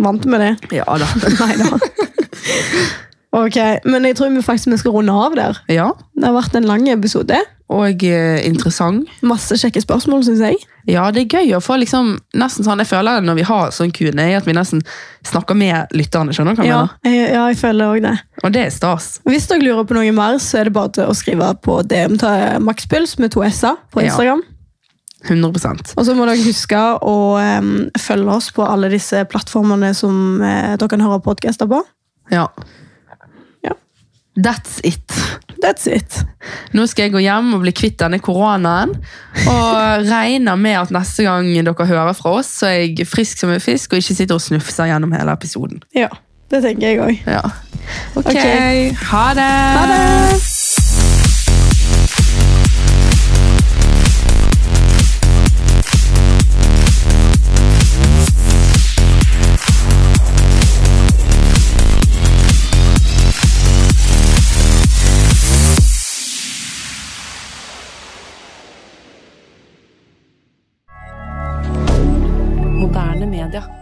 Speaker 1: Vant med det.
Speaker 2: Ja da.
Speaker 1: Nei da. Ok, men jeg tror vi faktisk vi skal runde av der.
Speaker 2: Ja,
Speaker 1: Det har vært en lang episode.
Speaker 2: og eh, interessant.
Speaker 1: Masse kjekke spørsmål, syns jeg.
Speaker 2: Ja, det er gøy å få liksom, nesten sånn, jeg føler det når vi har sånn Q&A, at vi nesten snakker med lytterne, skjønner du hva jeg
Speaker 1: Ja,
Speaker 2: mener?
Speaker 1: jeg, ja, jeg føler òg det.
Speaker 2: Og det er stas.
Speaker 1: Hvis dere lurer på noe mer, så er det bare til å skrive på DM til eh, Maxpuls med to s-er på
Speaker 2: Ja.
Speaker 1: Instagram.
Speaker 2: 100
Speaker 1: Og så må dere huske å em, følge oss på alle disse plattformene som eh, dere kan høre podcaster på.
Speaker 2: Ja.
Speaker 1: Ja.
Speaker 2: That's it.
Speaker 1: That's it.
Speaker 2: Nå skal jeg gå hjem og bli kvitt denne koronaen. Og regner med at neste gang dere hører fra oss, så er jeg frisk som en fisk og ikke sitter og snufser gjennom hele episoden.
Speaker 1: Ja, det tenker jeg òg.
Speaker 2: Ja. Ok.
Speaker 1: Ok.
Speaker 2: Ha det!
Speaker 1: Ha det!
Speaker 2: Moderne media.